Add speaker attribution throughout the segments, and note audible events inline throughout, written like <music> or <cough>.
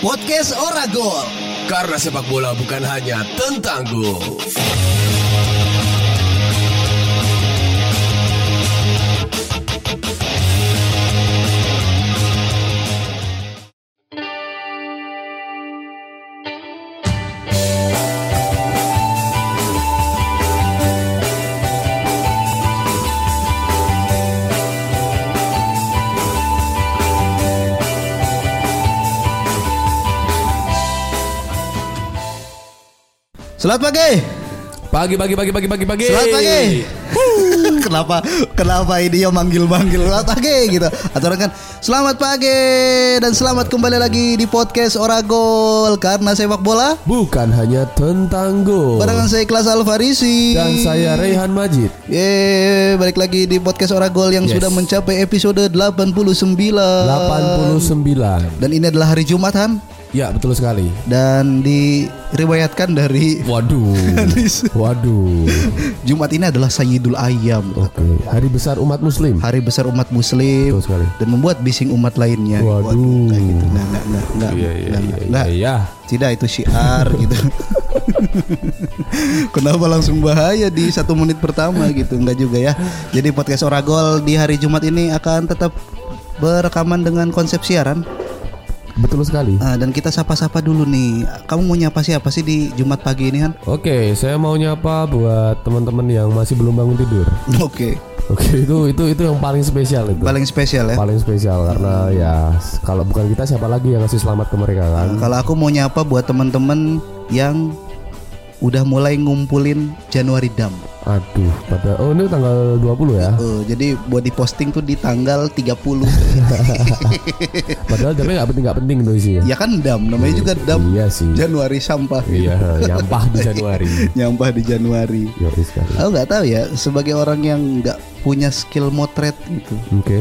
Speaker 1: Podcast Oragol. Karena sepak bola bukan hanya tentang gol.
Speaker 2: Selamat pagi.
Speaker 3: Pagi pagi pagi pagi pagi pagi.
Speaker 2: Selamat pagi. <laughs> kenapa kenapa ini yang manggil-manggil selamat pagi gitu. Atau kan selamat pagi dan selamat kembali lagi di podcast Oragol karena sepak bola
Speaker 3: Bukan hanya tentang gol.
Speaker 2: barengan saya Ikhlas Alfarisi
Speaker 3: Oh. Dan saya Rehan Majid.
Speaker 1: Eh.
Speaker 2: Yeay, balik lagi di podcast Oragol yang
Speaker 3: Yes.
Speaker 2: sudah mencapai episode 89.
Speaker 3: 89.
Speaker 2: Dan ini adalah hari Jumat Han
Speaker 3: Ya, betul sekali.
Speaker 2: dan diriwayatkan dari
Speaker 3: Waduh.
Speaker 1: <laughs>
Speaker 3: Waduh.
Speaker 2: Jumat ini adalah Sayyidul Ayam.
Speaker 3: Oke, hari besar umat muslim.
Speaker 2: Hari besar umat muslim
Speaker 3: Betul sekali.
Speaker 2: dan membuat bising umat lainnya.
Speaker 3: Waduh.
Speaker 2: Nah, gitu. Nggak, nggak, nggak, nggak,
Speaker 3: Iya, iya,
Speaker 2: nggak,
Speaker 3: iya,
Speaker 1: Nah.
Speaker 2: nggak,
Speaker 3: iya,
Speaker 2: nggak.
Speaker 3: iya.
Speaker 2: Tidak itu syiar
Speaker 3: <laughs>
Speaker 2: gitu. Kenapa langsung bahaya di satu menit pertama gitu? Enggak juga ya. Jadi podcast Oragol di hari Jumat ini akan tetap berekaman dengan konsep siaran
Speaker 3: Betul sekali.
Speaker 2: Ah, dan kita sapa-sapa dulu nih. Kamu mau nyapa siapa sih di Jumat pagi ini
Speaker 3: <laughs>
Speaker 2: kan?
Speaker 3: Oke, saya mau nyapa buat teman-teman yang masih belum bangun tidur.
Speaker 2: Oke,
Speaker 3: Oke, itu itu itu yang paling spesial itu.
Speaker 2: paling spesial ya.
Speaker 3: Paling spesial karena ya kalau bukan kita siapa lagi yang ngasih selamat ke mereka kan?
Speaker 2: Kalau aku mau nyapa buat teman-teman yang udah mulai ngumpulin Januari Dam.
Speaker 3: Aduh, pada oh ini tanggal 20 ya.
Speaker 2: Eh, jadi buat diposting tuh di tanggal 30.
Speaker 3: Padahal jamnya nggak penting nggak penting tuh isinya.
Speaker 2: <laughs> ya kan Dam, namanya juga Dam.
Speaker 3: Iya sih.
Speaker 2: Januari sampah.
Speaker 3: Iya, nyampah di Januari.
Speaker 2: Nyampah di Januari.
Speaker 3: Yoi sekali.
Speaker 2: Aku nggak tahu ya, sebagai orang yang nggak punya skill motret gitu,
Speaker 3: Oke.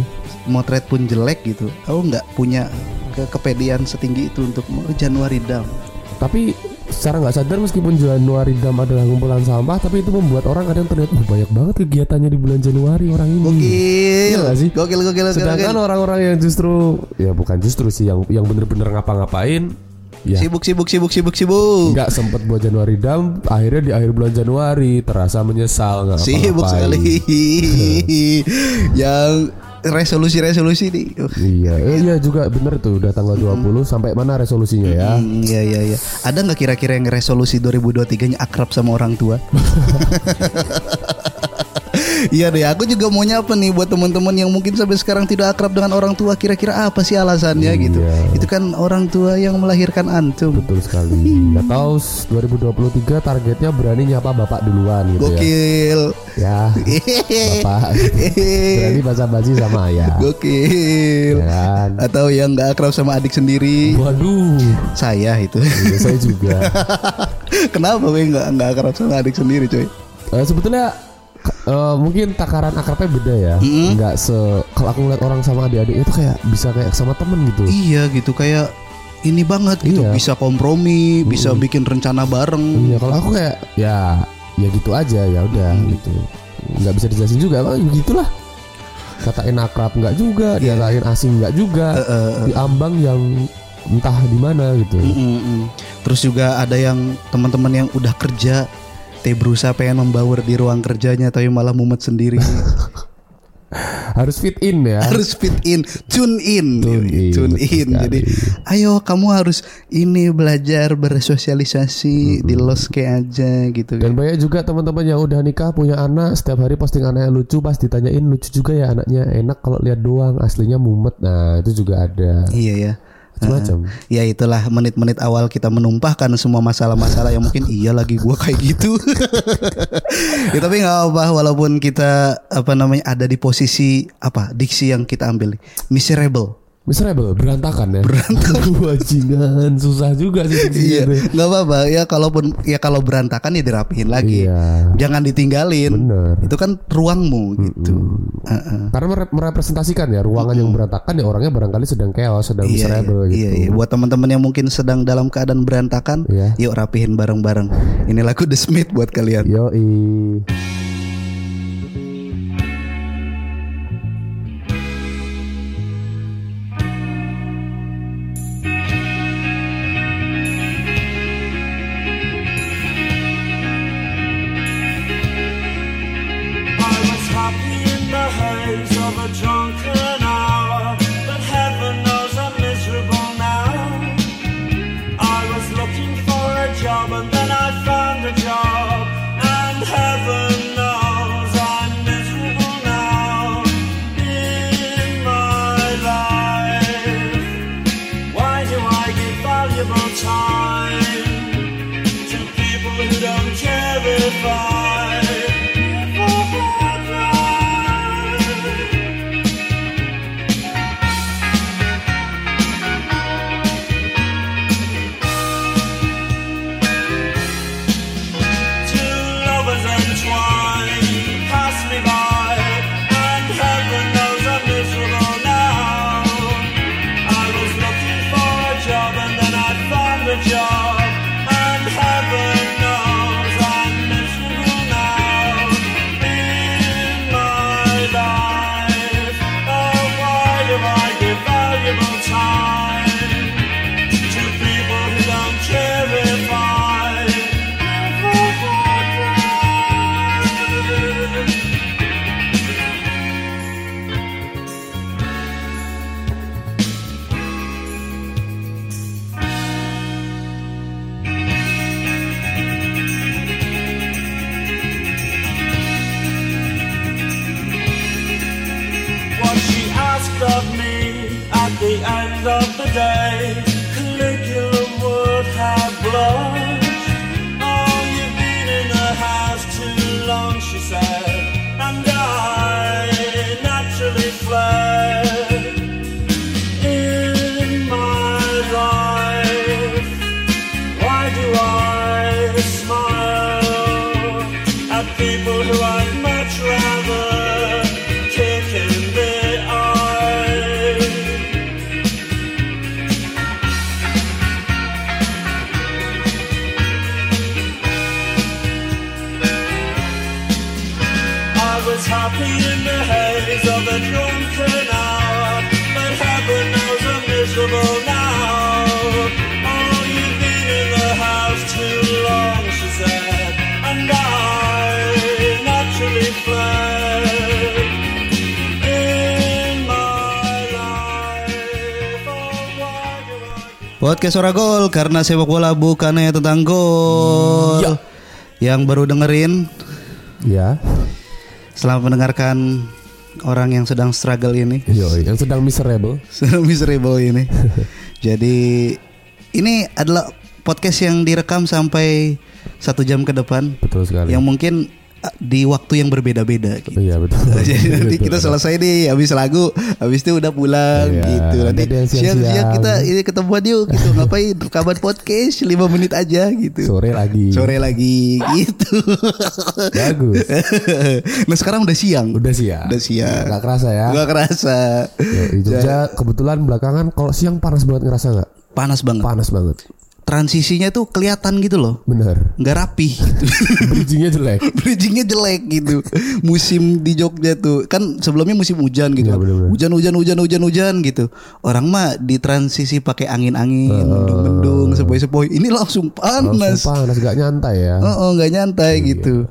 Speaker 2: motret pun jelek gitu. Aku nggak punya ke kepedean setinggi itu untuk mau Januari Dam.
Speaker 3: Hmm. Tapi secara nggak sadar meskipun Januari dam adalah kumpulan sampah, tapi itu membuat orang kadang terlihat "Wah, banyak banget kegiatannya di bulan Januari orang
Speaker 2: Oh,
Speaker 3: ini.
Speaker 2: gitu Gokil,
Speaker 3: Iya nggak sih?
Speaker 2: gokil, gokil, gokil,
Speaker 3: Sedangkan
Speaker 2: gokil.
Speaker 3: orang-orang yang justru ya bukan justru sih yang yang bener-bener ngapa-ngapain ya
Speaker 2: Sibuk, sibuk, sibuk, sibuk, sibuk.
Speaker 3: nggak sempet buat Januari dam akhirnya di akhir bulan Januari terasa menyesal nggak
Speaker 2: Sibuk
Speaker 3: ngapa-ngapain.
Speaker 2: sekali. <laughs> yang resolusi-resolusi nih. Uh,
Speaker 3: iya eh, iya juga bener tuh udah tanggal 20 sampai mana resolusinya ya
Speaker 2: hmm, Iya iya iya. Ada nggak kira-kira yang resolusi 2023-nya akrab sama orang tua? <laughs> Iya deh, aku juga mau nyapa nih buat teman-teman yang mungkin sampai sekarang tidak akrab dengan orang tua. Kira-kira apa sih alasannya gitu? Itu kan orang tua yang melahirkan antum.
Speaker 3: Betul sekali. Atau s- 2023 targetnya berani nyapa bapak duluan gitu ya.
Speaker 2: Gokil. Eh.
Speaker 3: Ya,
Speaker 2: <laughs>
Speaker 3: bapak berani basa-basi sama ayah.
Speaker 2: Gokil.
Speaker 3: Ya kan?
Speaker 2: Atau yang nggak akrab sama adik sendiri,
Speaker 3: Waduh,
Speaker 2: saya itu.
Speaker 3: iya, saya juga.
Speaker 2: <laughs> Kenapa gue nggak nggak akrab sama adik sendiri coy?
Speaker 3: Eh, sebetulnya k- eh, mungkin takaran akrabnya beda ya. Enggak se kalau aku ngeliat orang sama adik-adiknya itu kayak bisa kayak sama temen gitu.
Speaker 2: Iya gitu kayak ini banget gitu
Speaker 3: Iya.
Speaker 2: bisa kompromi, bisa bikin rencana bareng.
Speaker 3: Iya, kalau aku kayak ya ya gitu aja ya udah gitu. Enggak bisa dijelasin juga, emang begitulah. Katain akrab enggak juga, dikatain asing enggak juga. Diambang yang entah di mana gitu.
Speaker 2: Hmm. Mm-mm. Terus juga ada yang teman-teman yang udah kerja, teh berusaha pengen membaur di ruang kerjanya tapi malah mumet
Speaker 3: <laughs>
Speaker 2: sendiri.
Speaker 3: Harus fit in ya.
Speaker 2: harus fit in, tune in, Iya,
Speaker 3: Tune in, betul
Speaker 2: Tune in.
Speaker 3: sekali.
Speaker 2: Jadi ayo kamu harus ini belajar bersosialisasi di loske aja gitu.
Speaker 3: Dan banyak juga teman-teman yang udah nikah punya anak setiap hari posting anaknya lucu pas ditanyain lucu juga ya anaknya enak kalau lihat doang aslinya mumet nah itu juga ada
Speaker 2: Iya ya.
Speaker 3: macam-macam
Speaker 2: Ya itulah menit-menit awal kita menumpahkan semua masalah-masalah yang mungkin iya lagi gua kayak gitu. <laughs> ya, tapi nggak apa walaupun kita apa namanya ada di posisi apa diksi yang kita ambil miserable.
Speaker 3: miserable berantakan ya berantakan <laughs> wajingan susah juga sih
Speaker 2: Iya,
Speaker 3: gitu.
Speaker 2: nggak apa-apa ya kalaupun ya kalau berantakan ya dirapihin lagi.
Speaker 3: Iya.
Speaker 2: Jangan ditinggalin.
Speaker 3: Bener.
Speaker 2: Itu kan ruangmu gitu. Heeh.
Speaker 3: Karena mere- merepresentasikan ya ruangan yang berantakan ya orangnya barangkali sedang chaos, sedang
Speaker 2: Iya, iya,
Speaker 3: miserable gitu.
Speaker 2: iya, iya. buat teman-teman yang mungkin sedang dalam keadaan berantakan,
Speaker 3: Iya.
Speaker 2: yuk rapihin bareng-bareng. Ini lagu The Smith buat kalian.
Speaker 3: Yoi.
Speaker 4: Terima time to people who don't care if I forever. Two lovers entwined, pass me by, and heaven knows I'm miserable now. I was looking for a job and then I found a job, and heaven knows I'm miserable now. In my life, oh why do I give valuable time? To people who don't care if I What she asked of me at the end of the day, Caligula would have blushed. Oh, you've been in the house too long, she said, and I naturally fled. In my life, why do I smile at people who I'd much rather kick in the eye? I was happy in the haze of a drunken hour, but heaven knows I'm miserable now. Oh, you've been in the house too long, she said, and I naturally fled. In my life, oh, why do I?
Speaker 2: Podcast Ora Gol karena sepak bola bukan hanya tentang gol. Yang baru dengerin,
Speaker 3: Ya.
Speaker 2: selamat mendengarkan orang yang sedang struggle
Speaker 3: <laughs>
Speaker 2: ini,
Speaker 3: Yoi, yang sedang miserable.
Speaker 2: sedang miserable ini. Jadi ini adalah podcast yang direkam sampai satu jam ke depan,
Speaker 3: Betul sekali.
Speaker 2: yang mungkin eh, di waktu yang berbeda-beda. Gitu.
Speaker 3: Iya betul.
Speaker 2: <laughs> Jadi nanti
Speaker 3: Betul.
Speaker 2: kita selesai nih habis lagu, habis itu udah pulang
Speaker 3: Iya,
Speaker 2: gitu.
Speaker 3: nanti
Speaker 2: Nanti
Speaker 3: yang siang-siang.
Speaker 2: siang-siang kita ini ketemuan yuk
Speaker 3: <laughs>
Speaker 2: gitu. Ngapain rekaman podcast 5 menit aja gitu.
Speaker 3: sore lagi.
Speaker 2: Sore lagi gitu. <laughs>
Speaker 3: Bagus.
Speaker 2: nah sekarang udah siang.
Speaker 3: Udah siang.
Speaker 2: Udah siang.
Speaker 3: Gak kerasa ya.
Speaker 2: Gak kerasa.
Speaker 3: Ya, di Jogja kebetulan belakangan kalau siang panas banget ngerasa nggak?
Speaker 2: Panas banget.
Speaker 3: Panas banget.
Speaker 2: Transisinya tuh kelihatan gitu loh. <laughs>
Speaker 3: Bener.
Speaker 2: Nggak rapih gitu.
Speaker 3: Bridgingnya jelek.
Speaker 2: Bridgingnya jelek gitu Musim di Jogja tuh Kan sebelumnya musim hujan gitu
Speaker 3: Iya, bener-bener.
Speaker 2: Hujan hujan hujan hujan hujan gitu Orang mah di transisi pakai angin-angin Mendung-mendung sepoi-sepoi Ini langsung panas
Speaker 3: Langsung panas Iya, gak nyantai ya.
Speaker 2: Oh, oh gak nyantai gitu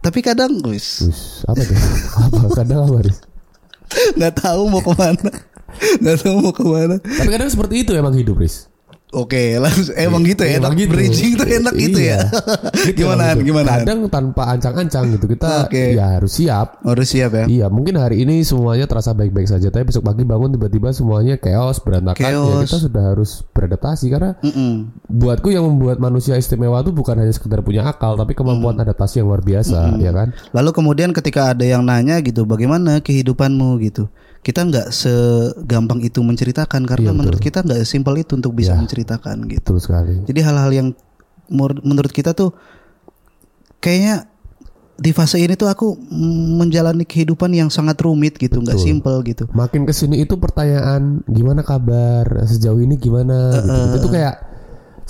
Speaker 2: Tapi kadang wis
Speaker 3: Wis, apa tuh? <laughs> apa kadang apa Riz?
Speaker 2: nggak tahu mau
Speaker 3: <laughs>
Speaker 2: kemana Gak tahu mau kemana
Speaker 3: Tapi kadang seperti itu emang hidup, Riz.
Speaker 2: Oke langsung Emang gitu ya
Speaker 3: Emang
Speaker 2: enak
Speaker 3: gitu.
Speaker 2: Bridging tuh enak gitu ya <laughs>
Speaker 3: Iya.
Speaker 2: Gimana
Speaker 3: Emang gitu.
Speaker 2: gimana
Speaker 3: Kadang tanpa ancang-ancang gitu kita
Speaker 2: Oke.
Speaker 3: ya harus siap.
Speaker 2: Harus siap ya
Speaker 3: Iya, mungkin hari ini semuanya terasa baik-baik saja, tapi besok pagi bangun tiba-tiba semuanya chaos, berantakan. Ya
Speaker 2: Chaos.
Speaker 3: kita sudah harus beradaptasi karena
Speaker 2: Mm-mm.
Speaker 3: buatku yang membuat manusia istimewa itu bukan hanya sekedar punya akal, tapi kemampuan
Speaker 2: Hmm.
Speaker 3: adaptasi yang luar biasa, ya kan?
Speaker 2: Lalu kemudian ketika ada yang nanya gitu, bagaimana kehidupanmu gitu, kita nggak segampang itu menceritakan karena menurut kita nggak simpel itu untuk bisa menceritakan gitu.
Speaker 3: Betul sekali.
Speaker 2: Jadi hal-hal yang mur- menurut kita tuh kayaknya di fase ini tuh aku mm, menjalani kehidupan yang sangat rumit gitu, nggak simpel gitu.
Speaker 3: Makin kesini itu pertanyaan gimana kabar sejauh ini gimana gitu. Itu kayak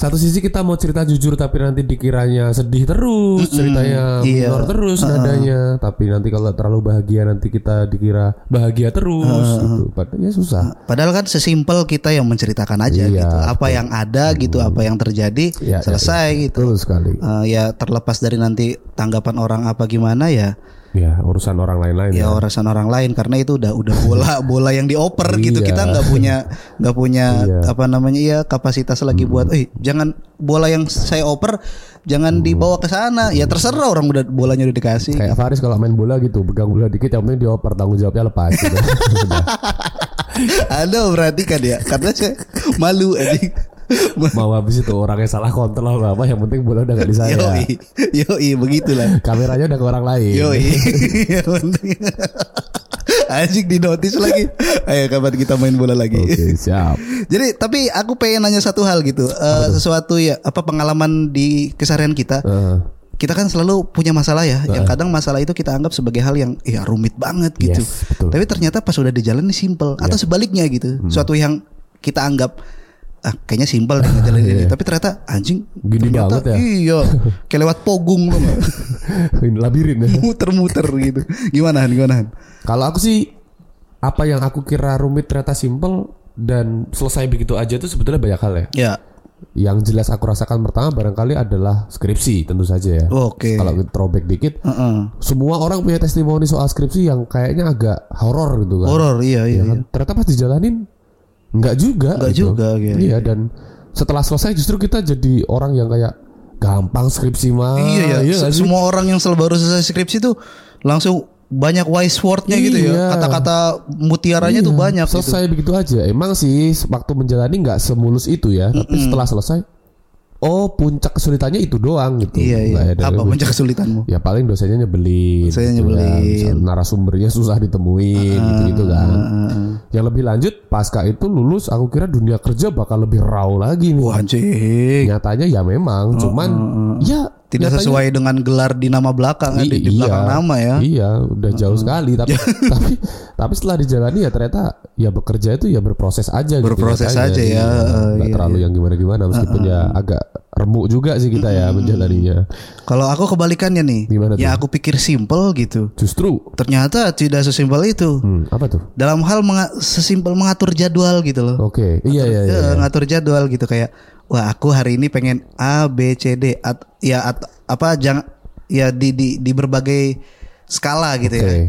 Speaker 3: satu sisi kita mau cerita jujur tapi nanti dikiranya sedih terus ceritanya
Speaker 2: Iya.
Speaker 3: minor terus nadanya tapi nanti kalau terlalu bahagia nanti kita dikira bahagia terus gitu. Padahal ya susah.
Speaker 2: Padahal kan sesimpel kita yang menceritakan aja
Speaker 3: Iya,
Speaker 2: gitu, apa yang ada gitu, apa yang terjadi
Speaker 3: Iya, iya,
Speaker 2: selesai gitu.
Speaker 3: Betul sekali.
Speaker 2: Eh, ya terlepas dari nanti tanggapan orang apa gimana ya.
Speaker 3: Ya urusan orang lain-lain
Speaker 2: ya urusan orang lain karena itu udah udah
Speaker 3: <laughs>
Speaker 2: bola bola yang dioper gitu
Speaker 3: Iya.
Speaker 2: kita nggak punya nggak punya
Speaker 3: Iya. Hmm.
Speaker 2: apa namanya ya kapasitas lagi buat eh jangan bola yang saya oper jangan dibawa ke sana ya terserah orang udah bolanya udah dikasih <laughs>
Speaker 3: Kayak Faris kalau main bola gitu, pegang bola dikit yang penting dioper tanggung jawabnya lepas
Speaker 2: <laughs>
Speaker 3: gitu. Udah. <laughs>
Speaker 2: ada berarti kan ya karena saya malu aja
Speaker 3: mau habis itu orangnya salah kontrol apa yang penting bola udah gak di saya
Speaker 2: <laughs> Yoi, yoi, begitulah.
Speaker 3: kameranya udah ke orang lain
Speaker 2: <laughs> Yoi. Yang penting. Asik di notis lagi. Ayo kapan kita main bola lagi.
Speaker 3: oke siap
Speaker 2: <laughs> Jadi tapi aku pengen nanya satu hal gitu. Eh, sesuatu ya apa pengalaman di keseharian kita. <laughs>
Speaker 3: Eh,
Speaker 2: Kita kan selalu punya masalah ya. Yang kadang masalah itu kita anggap sebagai hal yang ya rumit banget gitu.
Speaker 3: Yes, betul. Hmm.
Speaker 2: tapi ternyata pas udah dijalani simple atau sebaliknya gitu. Suatu yang kita anggap ah kayaknya simpel deh ngejalanin
Speaker 3: <laughs>
Speaker 2: ini. Tapi ternyata anjing
Speaker 3: Gini
Speaker 2: ternyata,
Speaker 3: banget ya.
Speaker 2: Iya. Kayak lewat pogung
Speaker 3: <laughs>
Speaker 2: loh.
Speaker 3: ini labirin ya
Speaker 2: Muter-muter gitu. Gimana Han? Gimana Han?
Speaker 3: Kalau aku sih apa yang aku kira rumit ternyata simple dan selesai begitu aja itu sebetulnya banyak hal ya.
Speaker 2: Ya.
Speaker 3: Yang jelas aku rasakan pertama barangkali adalah skripsi tentu saja ya.
Speaker 2: Oke.
Speaker 3: Kalau kita throwback dikit,
Speaker 2: Heeh.
Speaker 3: semua orang punya testimoni soal skripsi yang kayaknya agak horor gitu kan.
Speaker 2: Horor iya
Speaker 3: Ya
Speaker 2: iya. iya.
Speaker 3: kan? Ternyata pas dijalanin nggak juga.
Speaker 2: Nggak juga, iya,
Speaker 3: Iya, dan setelah selesai justru kita jadi orang yang kayak gampang skripsi mah.
Speaker 2: Iya ya.
Speaker 3: nggak sih?
Speaker 2: Se- Semua orang yang sel- baru selesai skripsi tuh langsung banyak wise wordnya gitu
Speaker 3: Iya.
Speaker 2: ya. Kata-kata mutiaranya tuh banyak. Gitu.
Speaker 3: selesai begitu aja emang sih waktu menjalani nggak semulus itu ya tapi setelah selesai oh puncak kesulitannya itu doang gitu
Speaker 2: Iya iya.
Speaker 3: Nggak ada
Speaker 2: Apa
Speaker 3: lebih.
Speaker 2: puncak kesulitanmu?
Speaker 3: ya paling dosennya nyebelin
Speaker 2: Dosennya
Speaker 3: gitu kan.
Speaker 2: nyebelin. Ah,
Speaker 3: Misal narasumbernya susah ditemuin gitu gitu kan yang lebih lanjut pasca itu lulus aku kira dunia kerja bakal lebih raw lagi nih
Speaker 2: Wah anjing.
Speaker 3: nyatanya ya
Speaker 2: Oh,
Speaker 3: memang cuman ya
Speaker 2: Tidak
Speaker 3: nyatanya-
Speaker 2: sesuai dengan gelar di nama belakang
Speaker 3: I-
Speaker 2: di, di
Speaker 3: iya.
Speaker 2: belakang nama ya.
Speaker 3: Iya, udah jauh sekali
Speaker 2: <laughs>
Speaker 3: tapi tapi tapi setelah dijalani ya ternyata ya bekerja itu ya berproses aja gitu
Speaker 2: Berproses
Speaker 3: nyatanya.
Speaker 2: aja ya,
Speaker 3: Iya,
Speaker 2: eh,
Speaker 3: nggak
Speaker 2: iya,
Speaker 3: terlalu yang gimana-gimana meskipun ya agak remuk juga sih kita ya menjalaninya.
Speaker 2: Kalau aku kebalikannya nih.
Speaker 3: Gimana
Speaker 2: ya aku pikir simple gitu.
Speaker 3: Justru
Speaker 2: Ternyata tidak sesimpel itu.
Speaker 3: hmm, apa tuh?
Speaker 2: Dalam hal menga- sesimpel mengatur jadwal gitu loh.
Speaker 3: Oke, iya iya iya.
Speaker 2: Eh, ngatur jadwal gitu kayak wah aku hari ini pengen A B C D at, ya at, apa jangan ya di di di berbagai skala gitu ya.
Speaker 3: Oke.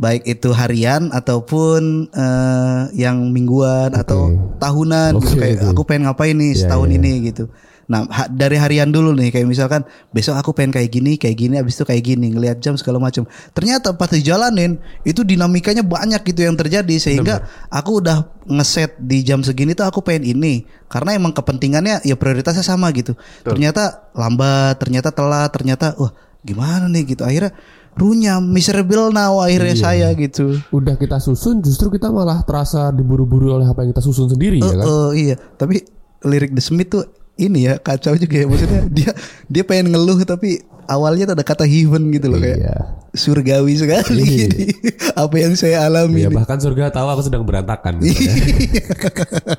Speaker 2: Baik itu harian ataupun eh, yang mingguan atau tahunan gitu
Speaker 3: Oke,
Speaker 2: kayak
Speaker 3: oke.
Speaker 2: aku pengen ngapain nih setahun
Speaker 3: iya,
Speaker 2: ini gitu. Nah, ha- dari harian dulu nih kayak misalkan besok aku pengen kayak gini, kayak gini abis itu kayak gini, ngelihat jam segala macam. Ternyata pas dijalanin itu dinamikanya banyak gitu yang terjadi sehingga aku udah ngeset di jam segini tuh aku pengen ini karena emang kepentingannya ya prioritasnya sama gitu. Ternyata lambat, ternyata telat, ternyata wah gimana nih gitu. Akhirnya runyam, miserable now akhirnya
Speaker 3: Iya.
Speaker 2: saya gitu.
Speaker 3: Udah kita susun justru kita malah terasa diburu-buru oleh apa yang kita susun sendiri ya kan.
Speaker 2: Oh iya, tapi lirik The Smith tuh ini ya kacau juga ya maksudnya <laughs> dia dia pengen ngeluh tapi awalnya tuh ada kata heaven gitu loh kayak
Speaker 3: Iya.
Speaker 2: surgawi sekali
Speaker 3: Iya.
Speaker 2: ini. <laughs> apa yang saya alami
Speaker 3: Ya
Speaker 2: ini.
Speaker 3: bahkan surga tahu aku sedang
Speaker 2: <laughs>
Speaker 3: berantakan. gitu ya.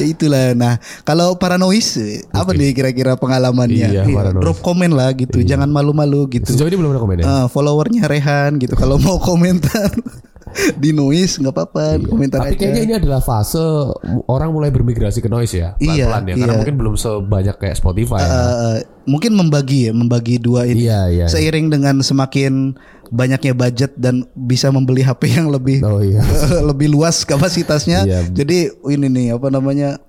Speaker 2: ya itulah nah kalau paranois eh, apa nih kira-kira pengalamannya
Speaker 3: Iya,
Speaker 2: Iya,
Speaker 3: paranois.
Speaker 2: drop komen lah gitu jangan malu-malu gitu
Speaker 3: Sejauh ini belum ada komen ya?
Speaker 2: Eh, followernya Rehan gitu kalau mau komentar <laughs> di noise nggak apa-apa komentar
Speaker 3: Iya. Tapi
Speaker 2: aja.
Speaker 3: kayaknya ini adalah fase orang mulai bermigrasi ke noise ya,
Speaker 2: Iya,
Speaker 3: pelan-pelan ya. Karena
Speaker 2: iya.
Speaker 3: mungkin belum sebanyak kayak Spotify. ya.
Speaker 2: Eh, mungkin membagi ya, membagi dua ini.
Speaker 3: Iya, iya.
Speaker 2: Seiring dengan semakin banyaknya budget dan bisa membeli HP yang lebih
Speaker 3: Oh iya.
Speaker 2: <laughs> lebih luas kapasitasnya.
Speaker 3: Iya.
Speaker 2: Jadi ini nih apa namanya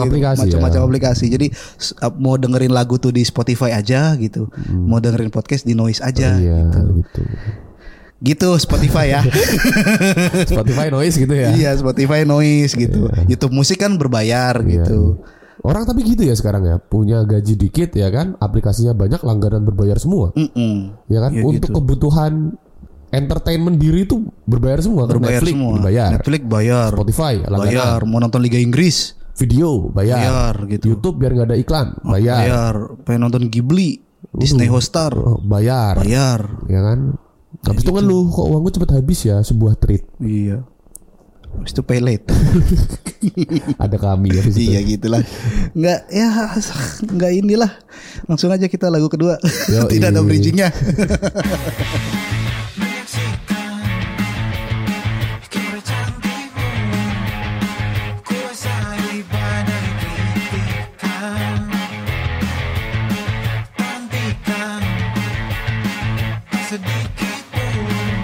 Speaker 3: Macam-macam
Speaker 2: gitu,
Speaker 3: aplikasi
Speaker 2: macam-macam
Speaker 3: ya.
Speaker 2: aplikasi. Jadi s- ap- mau dengerin lagu tuh di Spotify aja gitu. Mau dengerin podcast di Noise
Speaker 3: Hmm.
Speaker 2: aja.
Speaker 3: Iya gitu.
Speaker 2: Gitu
Speaker 3: <laughs>
Speaker 2: Spotify ya. <laughs>
Speaker 3: Spotify noise gitu ya.
Speaker 2: iya, Spotify Noise gitu. YouTube musik kan berbayar
Speaker 3: Iya,
Speaker 2: gitu.
Speaker 3: iya. Orang tapi gitu ya sekarang ya, punya gaji dikit ya kan, aplikasinya banyak langganan berbayar semua.
Speaker 2: Mm-mm.
Speaker 3: Ya kan? Untuk kebutuhan entertainment diri itu berbayar semua kan?
Speaker 2: Berbayar
Speaker 3: Netflix
Speaker 2: semua.
Speaker 3: berbayar.
Speaker 2: Netflix bayar.
Speaker 3: Spotify langganan.
Speaker 2: bayar. Mau nonton Liga Inggris
Speaker 3: Video bayar.
Speaker 2: Bayar, gitu. Oh,
Speaker 3: YouTube biar nggak ada iklan, bayar.
Speaker 2: bayar pengen nonton Ghibli Disney Hotstar
Speaker 3: Oh, bayar.
Speaker 2: bayar
Speaker 3: Ya kan? Habis itu kan lu kok uangku cepet habis ya sebuah treat
Speaker 2: iya Habis itu pay late
Speaker 3: ada kami ya di situ.
Speaker 2: <laughs> iya gitulah nggak ya nggak inilah langsung aja kita lagu kedua
Speaker 3: Yoi.
Speaker 2: <laughs> tidak ada bridgingnya
Speaker 5: Sedikit pun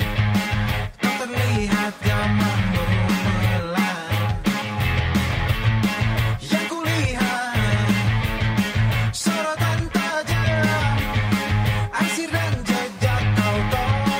Speaker 5: tak terlihat gambarmu melang yang kulihat sorotan tajam, arsir dan jejak kau tahu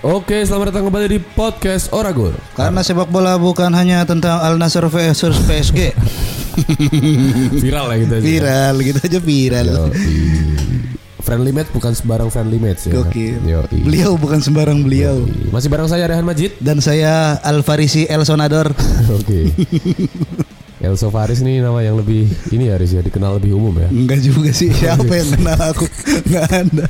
Speaker 3: Oke, selamat datang kembali di podcast Oragol.
Speaker 2: Karena sepak bola bukan hanya tentang Al Nassr versus <laughs> PSG.
Speaker 3: Viral lah gitu. aja.
Speaker 2: viral gitu aja viral.
Speaker 3: Yoi. Friendly match bukan sembarang friendly match ya.
Speaker 2: Gokil.
Speaker 3: Yoi.
Speaker 2: Beliau bukan sembarang beliau.
Speaker 3: Masih bareng saya Rehan Majid. <laughs>
Speaker 2: Dan saya Al Farisi El <laughs> Sonador.
Speaker 3: Oke. Elso Faris nih nama yang lebih ini ya Riz ya dikenal lebih umum ya.
Speaker 2: Enggak juga sih. Siapa yang kenal <laughs> aku? Enggak ada.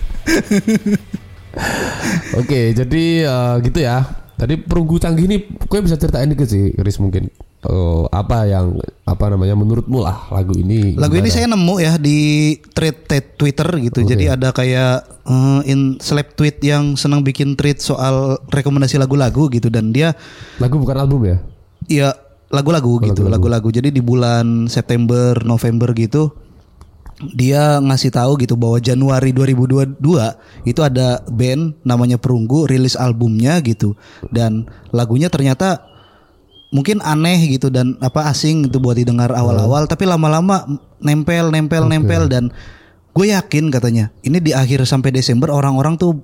Speaker 3: Oke, jadi eh, gitu ya. Tadi perunggu canggih ini gue bisa ceritain dikit sih Riz mungkin. Eh, apa yang apa namanya menurutmu lah lagu ini?
Speaker 2: Lagu ini
Speaker 3: gimana?
Speaker 2: saya nemu ya di thread, thread Twitter gitu. Jadi ada kayak eh, in slap tweet yang senang bikin tweet soal rekomendasi lagu-lagu gitu dan dia
Speaker 3: lagu bukan album ya.
Speaker 2: ya lagu-lagu gitu, lagu-lagu. Jadi di bulan September, November gitu dia ngasih tahu gitu bahwa Januari 2022 itu ada band namanya Perunggu rilis albumnya gitu dan lagunya ternyata mungkin aneh gitu dan apa asing gitu buat didengar awal-awal tapi lama-lama nempel nempel nempel dan gue yakin katanya ini di akhir sampai Desember orang-orang tuh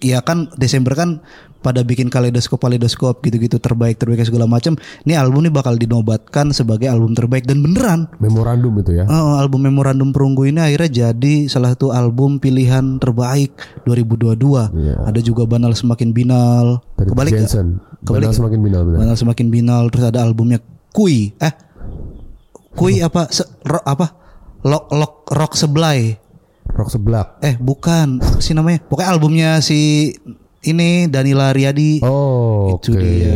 Speaker 2: ya kan Desember kan pada bikin kaleidoskop kaleidoskop gitu-gitu terbaik terbaik segala macam ini album ini bakal dinobatkan sebagai album terbaik dan beneran
Speaker 3: Memorandum itu ya.
Speaker 2: Oh, album Memorandum Perunggu ini akhirnya jadi salah satu album pilihan terbaik 2022.
Speaker 3: Iya.
Speaker 2: Ada juga Banal Semakin Binal.
Speaker 3: Dari
Speaker 2: Kebalik ya?
Speaker 3: Jensen.
Speaker 2: Kebalik
Speaker 3: Banal
Speaker 2: ya?
Speaker 3: semakin binal benar.
Speaker 2: Banal Semakin Binal terus ada albumnya Kui. Eh. Kui
Speaker 3: Iya.
Speaker 2: apa? Se- ro- apa? Lok Lok Rock Seblay.
Speaker 3: Rock seblak.
Speaker 2: Eh, bukan. Apa sih namanya? Pokoknya albumnya si ini Danila Riyadi.
Speaker 3: Oh,
Speaker 2: Itu
Speaker 3: oke.
Speaker 2: dia.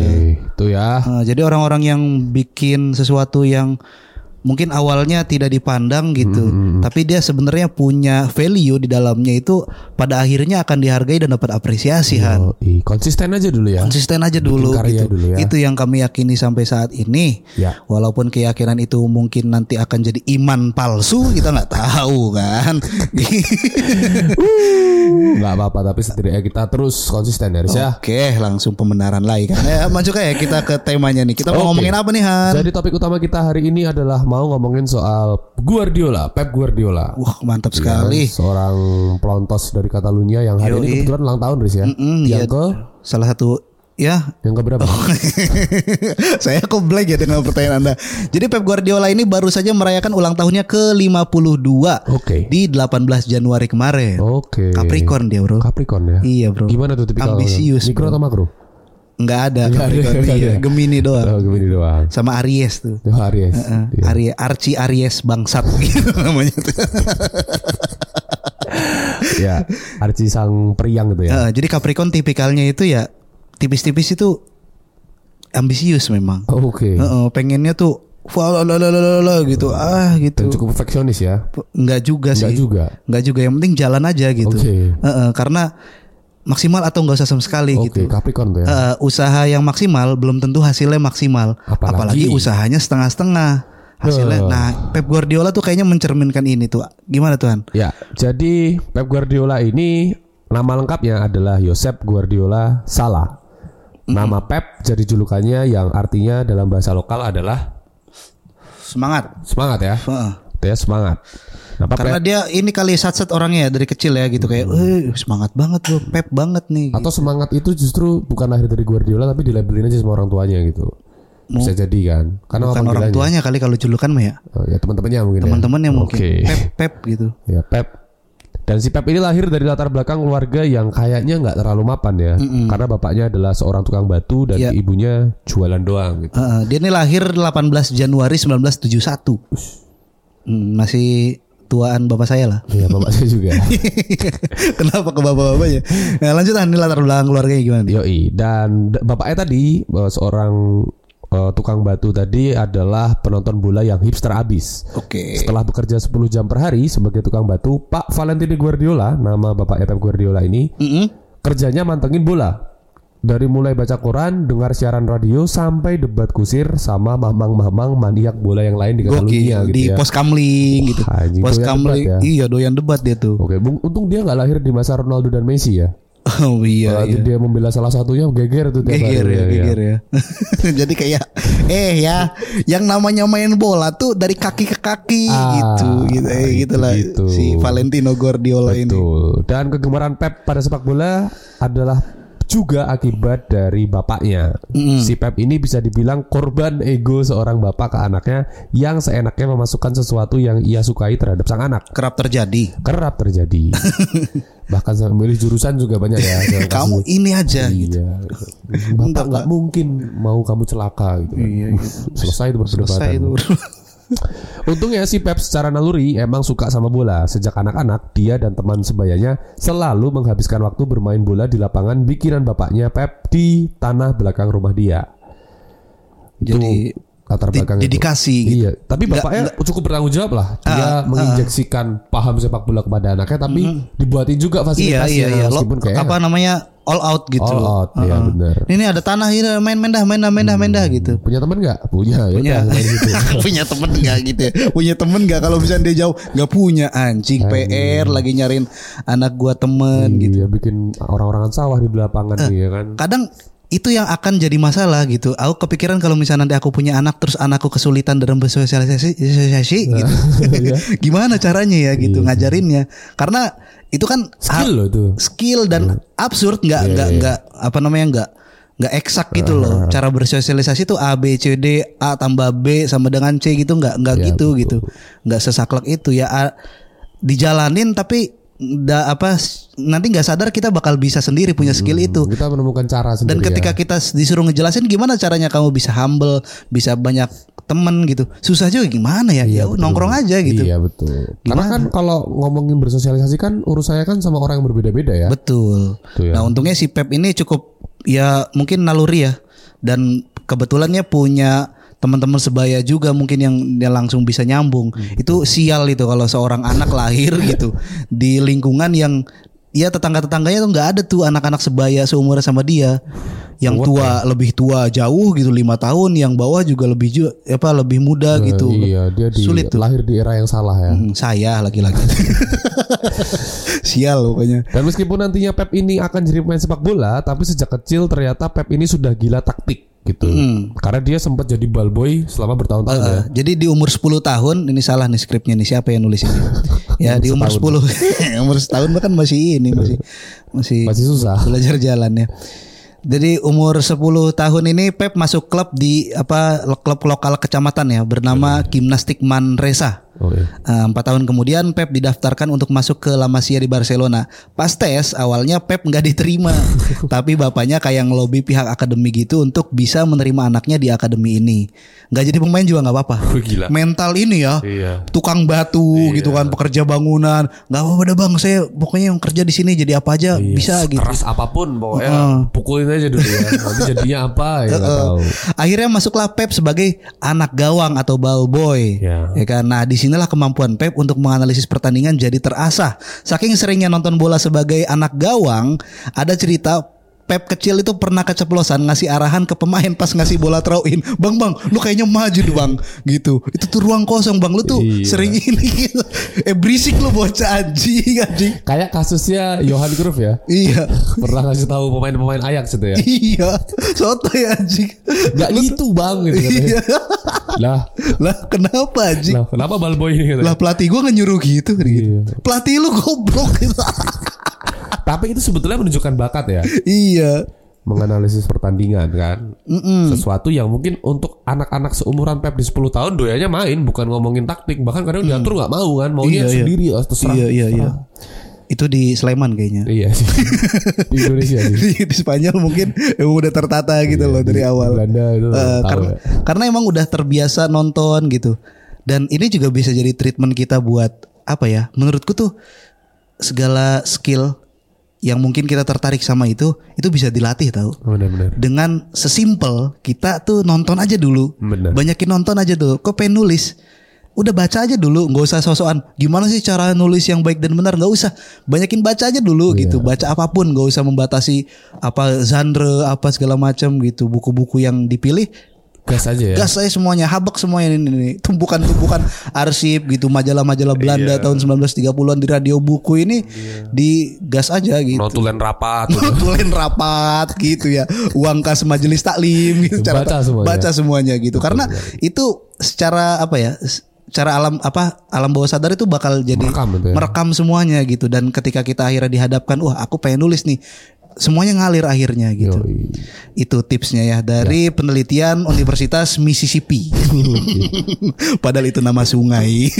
Speaker 3: Itu ya.
Speaker 2: Eh, jadi orang-orang yang bikin sesuatu yang mungkin awalnya tidak dipandang gitu,
Speaker 3: Hmm,
Speaker 2: tapi dia sebenarnya punya value di dalamnya itu pada akhirnya akan dihargai dan dapat apresiasi Han.
Speaker 3: Oh, i- konsisten aja dulu ya.
Speaker 2: Kan. Konsisten aja dulu
Speaker 3: karya
Speaker 2: gitu.
Speaker 3: dulu ya.
Speaker 2: Itu yang kami yakini sampai saat ini.
Speaker 3: Ya.
Speaker 2: Walaupun keyakinan itu mungkin nanti akan jadi iman palsu, kita nggak tahu kan.
Speaker 3: Enggak apa-apa tapi setidaknya kita terus konsisten ya, Riz <laughs> ya.
Speaker 2: Oke, langsung pembenaran lagi kan. Eh, masuk aja kita ke temanya nih. Kita
Speaker 3: Oke.
Speaker 2: mau ngomongin apa nih Han?
Speaker 3: Jadi topik utama kita hari ini adalah mau ngomongin soal Guardiola, Pep Guardiola.
Speaker 2: Wah, mantap
Speaker 3: Ya,
Speaker 2: sekali.
Speaker 3: Seorang pelontos dari Catalunya yang hari ini
Speaker 2: Yoi.
Speaker 3: kebetulan ulang tahun Riz ya.
Speaker 2: Mm,
Speaker 3: yang
Speaker 2: iya.
Speaker 3: ke
Speaker 2: salah satu ya <laughs>
Speaker 3: yang ke berapa?
Speaker 2: saya kok blank ya dengan pertanyaan Anda. Jadi Pep Guardiola ini baru saja merayakan ulang tahunnya ke-52
Speaker 3: Oke.
Speaker 2: di 18 Januari kemarin.
Speaker 3: Oke.
Speaker 2: Capricorn dia, Bro.
Speaker 3: Capricorn ya.
Speaker 2: Iya, Bro.
Speaker 3: Gimana tuh tipikal?
Speaker 2: Ambisius,
Speaker 3: Mikro
Speaker 2: bro.
Speaker 3: atau makro?
Speaker 2: Nggak ada
Speaker 3: Nggak ada,
Speaker 2: Capricorn
Speaker 3: nggak
Speaker 2: iya,
Speaker 3: ada.
Speaker 2: Gemini
Speaker 3: Oh,
Speaker 2: doang.
Speaker 3: gini doang.
Speaker 2: Sama Aries tuh.
Speaker 3: Ya, Aries.
Speaker 2: Eh,
Speaker 3: Iya.
Speaker 2: Aries, Archie Aries bangsat <laughs> gitu namanya tuh.
Speaker 3: ya. Arci sang periang gitu ya.
Speaker 2: Eh, jadi Capricorn tipikalnya itu ya tipis-tipis itu ambisius memang.
Speaker 3: Oh, Oke.
Speaker 2: Eh, eh, pengennya tuh wah, la, la, la, la, la, gitu. Ah,
Speaker 3: Dan
Speaker 2: gitu.
Speaker 3: cukup perfeksionis ya.
Speaker 2: Nggak juga sih.
Speaker 3: Enggak juga.
Speaker 2: Nggak juga yang penting jalan aja gitu.
Speaker 3: Oke.
Speaker 2: Heeh, karena maksimal atau nggak usah sama sekali
Speaker 3: Oke,
Speaker 2: gitu.
Speaker 3: Capricorn tuh ya.
Speaker 2: Heeh, usaha yang maksimal belum tentu hasilnya maksimal.
Speaker 3: Apalagi-
Speaker 2: Apalagi, usahanya setengah-setengah. Hasilnya.
Speaker 3: Duh.
Speaker 2: Nah, Pep Guardiola tuh kayaknya mencerminkan ini tuh. Gimana tuhan?
Speaker 3: Ya, jadi Pep Guardiola ini nama lengkapnya adalah Josep Guardiola Sala. Nama Pep jadi julukannya yang artinya dalam bahasa lokal adalah
Speaker 2: Semangat.
Speaker 3: semangat ya.
Speaker 2: Heeh.
Speaker 3: Itu ya semangat. Kenapa
Speaker 2: Karena
Speaker 3: Pep?
Speaker 2: dia ini kali sat-sat orangnya ya dari kecil ya gitu kayak, eh semangat banget tuh, Pep banget nih.
Speaker 3: Hmm. Atau semangat itu justru bukan lahir dari Guardiola tapi dilabelin aja sama orang tuanya gitu. Bisa jadi kan. Karena
Speaker 2: Oh. Gitu. Bukan orang
Speaker 3: panggilannya.
Speaker 2: tuanya kali kalau julukan mah ya.
Speaker 3: Oh, ya teman-temannya mungkin. ya.
Speaker 2: Teman-temannya mungkin
Speaker 3: Oke.
Speaker 2: Pep Pep gitu.
Speaker 3: <laughs> Ya Pep. Dan si Pep ini lahir dari latar belakang keluarga yang kayaknya nggak terlalu mapan ya, karena bapaknya adalah seorang tukang batu dan
Speaker 2: Iya.
Speaker 3: ibunya jualan doang. Gitu.
Speaker 2: Heeh, dia ini lahir 18 Januari 1971. Hmm, masih tuaan bapak saya lah. <laughs>
Speaker 3: Iya bapak saya juga.
Speaker 2: Kenapa ke bapak-bapaknya? Nah, lanjut ah, ini latar belakang keluarganya gimana? nih?
Speaker 3: Yoi. Dan d- bapaknya tadi eh, seorang eh, tukang batu tadi adalah penonton bola yang hipster abis.
Speaker 2: Oke.
Speaker 3: Setelah bekerja 10 jam per hari sebagai tukang batu, Pak Valentini Guardiola, nama bapak Pep Guardiola ini,
Speaker 2: Mm-mm.
Speaker 3: kerjanya mantengin bola. Dari mulai baca koran, dengar siaran radio sampai debat kusir sama mamang-mamang maniak bola yang lain di
Speaker 2: Gokil
Speaker 3: Catalunya gitu
Speaker 2: di
Speaker 3: ya.
Speaker 2: pos kamling gitu.
Speaker 3: anjing,
Speaker 2: pos
Speaker 3: doyan
Speaker 2: kamling.
Speaker 3: debat ya.
Speaker 2: Iya, doyan debat dia
Speaker 3: <laughs>
Speaker 2: tuh.
Speaker 3: Oke, bung, untung dia nggak lahir di masa Ronaldo dan Messi ya.
Speaker 2: Oh iya.
Speaker 3: Kalau
Speaker 2: iya.
Speaker 3: dia membela salah satunya geger tuh tiap hari,
Speaker 2: Geger ya,
Speaker 3: ya, ya.
Speaker 2: geger ya. <laughs> Jadi kayak eh ya, yang namanya main bola tuh dari kaki ke kaki
Speaker 3: Ah,
Speaker 2: gitu, gitu, eh,
Speaker 3: itu
Speaker 2: gitulah
Speaker 3: gitu.
Speaker 2: si Valentino Guardiola ini.
Speaker 3: Betul. Dan kegemaran Pep pada sepak bola adalah juga akibat dari bapaknya. Si Pep ini bisa dibilang korban ego seorang bapak ke anaknya yang seenaknya memasukkan sesuatu yang ia sukai terhadap sang anak.
Speaker 2: kerap terjadi.
Speaker 3: Kerap
Speaker 2: <laughs>
Speaker 3: terjadi. Bahkan sampai milih jurusan juga banyak ya. dalam kasus
Speaker 2: Eh, Kamu ini aja. gitu.
Speaker 3: Iya. Bapak nggak mungkin mau kamu celaka gitu. kan. Selesai itu perdebatan.
Speaker 2: Iya, Selesai itu. <laughs> Iya,
Speaker 3: Untungnya si Pep secara naluri emang suka sama bola. Sejak anak-anak, dia dan teman sebayanya selalu menghabiskan waktu bermain bola di lapangan bikinan bapaknya Pep di tanah belakang rumah dia. Itu
Speaker 2: Jadi,
Speaker 3: latar
Speaker 2: di-
Speaker 3: belakang
Speaker 2: dedikasi gitu. Ah,
Speaker 3: Iya, tapi bapaknya cukup bertanggung jawab lah. Dia menginjeksikan paham sepak bola kepada anaknya, tapi dibuatin juga
Speaker 2: Mhm. Iya
Speaker 3: fasilitasnya
Speaker 2: iya iya. Lo-
Speaker 3: ya, meskipun kayak
Speaker 2: apa namanya all out gitu.
Speaker 3: All out, iya,
Speaker 2: Heeh.
Speaker 3: benar.
Speaker 2: Ini ada tanah ini main-main dah, main dah, main dah, main dah gitu.
Speaker 3: punya teman nggak? Punya, ya
Speaker 2: punya
Speaker 3: udah, main <laughs> gitu.
Speaker 2: punya temen nggak gitu ya? punya temen nggak kalau bisa dia jauh nggak punya anjing PR lagi nyariin anak gua temen <laughs> gitu Eh.
Speaker 3: Iya, bikin orang-orangan sawah di lapangan nih ya kan.
Speaker 2: kadang itu yang akan jadi masalah gitu. Aku kepikiran kalau misalnya nanti aku punya anak terus anakku kesulitan dalam bersosialisasi sosialisasi
Speaker 3: <laughs>
Speaker 2: gitu.
Speaker 3: Iya.
Speaker 2: <laughs> Gimana caranya ya gitu ngajarinnya? Karena itu kan
Speaker 3: Skill
Speaker 2: a-
Speaker 3: loh itu.
Speaker 2: Skill
Speaker 3: Hmm.
Speaker 2: dan absurd nggak
Speaker 3: Iya,
Speaker 2: nggak nggak apa namanya nggak nggak eksak gitu loh. Cara bersosialisasi tuh A B C D A tambah B sama dengan C gitu nggak nggak
Speaker 3: Ya,
Speaker 2: gitu
Speaker 3: betul.
Speaker 2: gitu. Nggak sesaklek itu ya A- dijalanin tapi da, apa nanti nggak sadar kita bakal bisa sendiri punya skill itu
Speaker 3: Kita menemukan cara sendiri.
Speaker 2: gitu. dan ketika
Speaker 3: ya.
Speaker 2: kita disuruh ngejelasin gimana caranya kamu bisa humble, bisa banyak temen gitu. Susah juga gimana ya? ya
Speaker 3: Iya, betul.
Speaker 2: nongkrong aja gitu.
Speaker 3: Iya betul. Karena
Speaker 2: Gimana?
Speaker 3: kan kalau ngomongin bersosialisasi kan urusannya kan sama orang yang berbeda-beda ya.
Speaker 2: Betul.
Speaker 3: Tuh ya.
Speaker 2: Nah, untungnya si Pep ini cukup ya mungkin naluri ya dan kebetulannya punya teman-teman sebaya juga mungkin yang dia langsung bisa nyambung.
Speaker 3: Hmm.
Speaker 2: Itu sial itu kalau seorang anak lahir <laughs> gitu di lingkungan yang ya tetangga-tetangganya tuh nggak ada tuh anak-anak sebaya seumuran sama dia. Yang tua
Speaker 3: ya.
Speaker 2: lebih tua jauh gitu lima tahun, yang bawah juga lebih ju- apa lebih muda
Speaker 3: Eh,
Speaker 2: gitu.
Speaker 3: Iya dia di, <laughs>
Speaker 2: Sulit tuh.
Speaker 3: lahir di era yang salah ya.
Speaker 2: Hmm, Saya laki-laki. <laughs> sial pokoknya.
Speaker 3: Dan meskipun nantinya Pep ini akan jadi pemain sepak bola, tapi sejak kecil ternyata Pep ini sudah gila taktik gitu.
Speaker 2: Hmm.
Speaker 3: Karena dia sempat jadi ball boy selama bertahun-tahun ya.
Speaker 2: Uh, jadi di umur 10 tahun ini salah nih skripnya nih siapa yang nulis ini? ya di umur 10 <laughs> umur setahun bahkan masih ini masih masih,
Speaker 3: Masih susah.
Speaker 2: belajar jalannya. Jadi umur 10 tahun ini Pep masuk klub di apa lo- klub lokal kecamatan ya bernama Gimnastik Manresa.
Speaker 3: Oh, iya.
Speaker 2: Eh, Empat tahun kemudian Pep didaftarkan untuk masuk ke La Masia di Barcelona. Pas tes awalnya Pep nggak
Speaker 3: <laughs>
Speaker 2: diterima, tapi bapaknya kayak ngelobi pihak akademi gitu untuk bisa menerima anaknya di akademi ini. Nggak jadi pemain juga nggak apa-apa.
Speaker 3: Oh, gila.
Speaker 2: Mental ini ya,
Speaker 3: Iya.
Speaker 2: tukang batu gitu kan, pekerja bangunan. Nggak apa-apa dah bang, saya pokoknya yang kerja di sini jadi apa aja
Speaker 3: Iya,
Speaker 2: bisa gitu. Eh,
Speaker 3: Keras apapun pokoknya pukulin aja dulu ya. Nanti jadinya apa ya nggak tahu.
Speaker 2: Akhirnya masuklah Pep sebagai anak gawang atau ball boy.
Speaker 3: Ya.
Speaker 2: Ya kan? Nah, disinilah kemampuan Pep untuk menganalisis pertandingan jadi terasah. Saking seringnya nonton bola sebagai anak gawang, ada cerita Pep kecil itu pernah keceplosan ngasih arahan ke pemain pas ngasih bola throw in. Bang, bang, lu kayaknya maju deh, Bang. Gitu. Itu tuh ruang kosong, Bang. Lu tuh
Speaker 3: Iya.
Speaker 2: sering ini. <laughs> gitu. eh berisik lu bocah anjing, anjing.
Speaker 3: Kayak kasusnya Johan Cruyff ya.
Speaker 2: Iya. <laughs>
Speaker 3: Pernah ngasih tahu pemain-pemain Ajax itu ya.
Speaker 2: Iya. Sotoy anjing.
Speaker 3: Gak
Speaker 2: Lu-
Speaker 3: gitu bang gitu katanya.
Speaker 2: Iya.
Speaker 3: Lah,
Speaker 2: <laughs> Lah, kenapa anjing?
Speaker 3: lah Iya. kenapa balboy ini ya? katanya.
Speaker 2: Lah pelatih gue nyuruh gitu, gitu. Pelatih lu goblok <laughs> gitu.
Speaker 3: Tapi itu sebetulnya menunjukkan bakat ya.
Speaker 2: iya.
Speaker 3: Menganalisis pertandingan kan. Sesuatu yang mungkin untuk anak-anak seumuran Pep di 10 tahun doyanya main. Bukan ngomongin taktik. Bahkan kadang diatur gak mau kan. Maunya
Speaker 2: Mm. Iya, iya.
Speaker 3: sendiri. oh, terserah.
Speaker 2: Iya iya iya. Itu di Sleman kayaknya.
Speaker 3: Iya <laughs> sih. di
Speaker 2: <laughs>
Speaker 3: Indonesia sih.
Speaker 2: di, di Spanyol mungkin emang udah tertata gitu loh dari awal.
Speaker 3: Belanda itu
Speaker 2: Eh,
Speaker 3: tahu
Speaker 2: karena,
Speaker 3: ya.
Speaker 2: karena emang udah terbiasa nonton gitu. Dan ini juga bisa jadi treatment kita buat apa ya? Menurutku tuh segala skill yang mungkin kita tertarik sama itu itu bisa dilatih tahu.
Speaker 3: Benar-benar.
Speaker 2: dengan sesimpel kita tuh nonton aja dulu
Speaker 3: Bener.
Speaker 2: banyakin nonton aja dulu kok pengen nulis udah baca aja dulu nggak usah sosokan gimana sih cara nulis yang baik dan benar nggak usah banyakin baca aja dulu gitu baca apapun nggak usah membatasi apa genre apa segala macam gitu buku-buku yang dipilih
Speaker 3: Gas aja ya.
Speaker 2: gas saya semuanya habak semuanya ini, ini. tumpukan-tumpukan arsip gitu majalah-majalah Belanda tahun 1930-an di radio buku ini di gas aja gitu
Speaker 3: Notulen rapat.
Speaker 2: tulen rapat gitu ya uang kas majelis taklim gitu cara-
Speaker 3: Baca semuanya.
Speaker 2: baca semuanya gitu karena itu secara apa ya s- cara alam apa alam bawah sadar itu bakal jadi
Speaker 3: Merekam itu ya.
Speaker 2: merekam semuanya gitu dan ketika kita akhirnya dihadapkan wah aku pengen nulis nih semuanya ngalir akhirnya gitu.
Speaker 3: Yoi.
Speaker 2: Itu tipsnya ya dari penelitian Universitas Mississippi. <laughs> Padahal itu nama sungai. <laughs>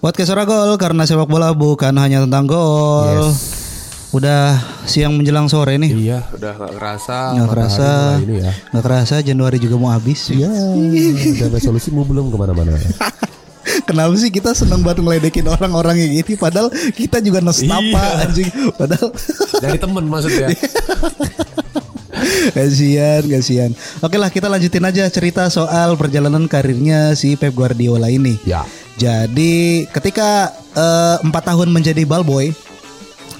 Speaker 2: Podcast Ora Gol karena sepak bola bukan hanya tentang gol. Udah siang menjelang sore nih.
Speaker 3: Iya.
Speaker 6: Udah nggak kerasa.
Speaker 2: Nggak kerasa.
Speaker 3: mulai ini ya.
Speaker 2: Nggak kerasa Januari juga mau habis.
Speaker 3: Iya. Dan resolusimu belum kemana-mana.
Speaker 2: <laughs> Kenapa sih kita seneng banget ngeledekin orang-orang yang gitu Padahal kita juga
Speaker 3: Iya.
Speaker 2: nestapa anjing Padahal <laughs>
Speaker 3: Dari temen maksudnya.
Speaker 2: Kasian, kasian Oke lah kita lanjutin aja cerita soal perjalanan karirnya si Pep Guardiola ini
Speaker 3: Ya.
Speaker 2: Jadi ketika eh, empat tahun menjadi ballboy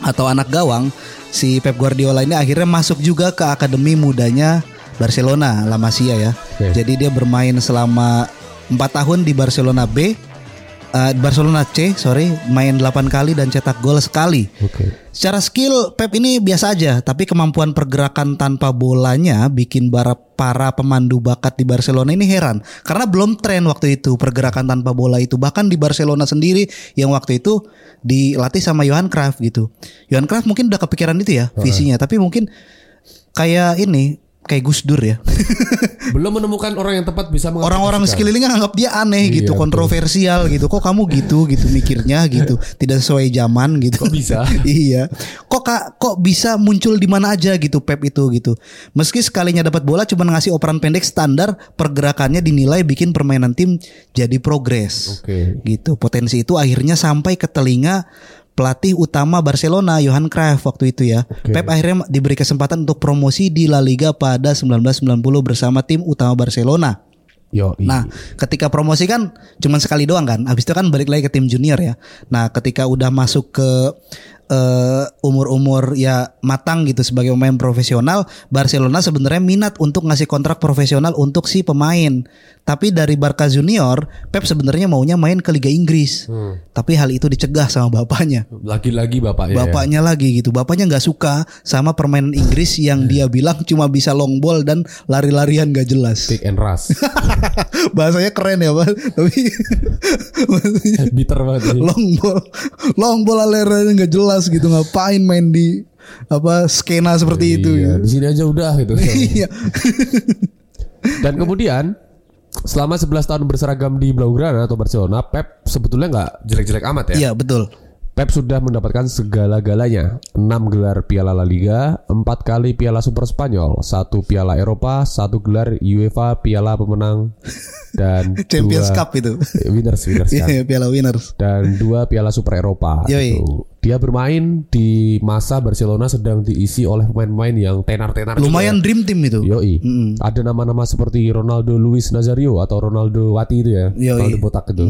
Speaker 2: Atau anak gawang Si Pep Guardiola ini akhirnya masuk juga ke akademi mudanya Barcelona, La Masia ya
Speaker 3: Oke.
Speaker 2: Jadi dia bermain selama empat tahun di Barcelona B eh, Barcelona C, sorry Main 8 kali dan cetak gol sekali
Speaker 3: Oke.
Speaker 2: Secara skill Pep ini biasa aja, tapi kemampuan pergerakan tanpa bolanya bikin para para pemandu bakat di Barcelona ini heran karena belum tren waktu itu pergerakan tanpa bola itu bahkan di Barcelona sendiri yang waktu itu dilatih sama Johan Cruyff gitu. Johan Cruyff mungkin udah kepikiran itu ya visinya, tapi mungkin kayak ini kayak Gus Dur ya. <laughs>
Speaker 3: Belum menemukan orang yang tepat bisa mengaplikasikan.
Speaker 2: Orang-orang sekelilingnya nganggap dia aneh
Speaker 3: Iya,
Speaker 2: gitu,
Speaker 3: betul.
Speaker 2: kontroversial gitu. Kok kamu gitu gitu mikirnya
Speaker 3: <laughs>
Speaker 2: gitu, tidak sesuai zaman gitu.
Speaker 3: Kok bisa?
Speaker 2: <laughs> iya. Kok kak, kok bisa muncul di mana aja gitu Pep itu gitu. Meski sekalinya dapat bola cuma ngasih operan pendek standar, pergerakannya dinilai bikin permainan tim jadi progres.
Speaker 3: Oke.
Speaker 2: Gitu. Potensi itu akhirnya sampai ke telinga pelatih utama Barcelona Johan Cruyff waktu itu ya.
Speaker 3: Oke.
Speaker 2: Pep akhirnya diberi kesempatan untuk promosi di La Liga pada 1990 bersama tim utama Barcelona.
Speaker 3: Yo. iya.
Speaker 2: Nah, ketika promosi kan cuman sekali doang kan. Habis itu kan balik lagi ke tim junior ya. Nah, ketika udah masuk ke eh, umur-umur ya matang gitu sebagai pemain profesional, Barcelona sebenarnya minat untuk ngasih kontrak profesional untuk si pemain. Tapi dari Barca Junior, Pep sebenarnya maunya main ke Liga Inggris. Tapi hal itu dicegah sama bapaknya.
Speaker 3: Lagi-lagi bapaknya. ya.
Speaker 2: Bapaknya lagi gitu. Bapaknya nggak suka sama permainan Inggris yang dia bilang cuma bisa long ball dan lari-larian gak jelas.
Speaker 3: Pick and
Speaker 2: <laughs>
Speaker 3: rush.
Speaker 2: Bahasanya keren ya, Pak. Tapi <laughs> maksudnya
Speaker 3: Bitter banget. sih.
Speaker 2: long ball, long ball lari-larian nggak jelas gitu. Ngapain main di apa skena seperti itu?
Speaker 3: Iya,
Speaker 2: gitu.
Speaker 3: di sini aja udah gitu.
Speaker 2: <laughs> Iya.
Speaker 3: Dan kemudian selama 11 tahun berseragam di Blaugrana atau Barcelona, Pep sebetulnya nggak jelek-jelek amat ya.
Speaker 2: Iya, betul.
Speaker 3: Pep sudah mendapatkan segala-galanya. 6 gelar Piala La Liga, 4 kali Piala Super Spanyol, 1 Piala Eropa, 1 gelar UEFA Piala Pemenang dan
Speaker 2: <laughs> Champions
Speaker 3: dua-
Speaker 2: Cup itu.
Speaker 3: Eh, Winners, Winners Cup.
Speaker 2: <laughs> Iya, Piala Winners.
Speaker 3: dan dua Piala Super Eropa.
Speaker 2: Yoi.
Speaker 3: gitu. Dia bermain di masa Barcelona sedang diisi oleh pemain-pemain yang tenar-tenar. juga.
Speaker 2: Lumayan dream team itu.
Speaker 3: Yoi. Ada nama-nama seperti Ronaldo Luis Nazario atau Ronaldo Wati itu ya.
Speaker 2: Yoi.
Speaker 3: Ronaldo botak itu.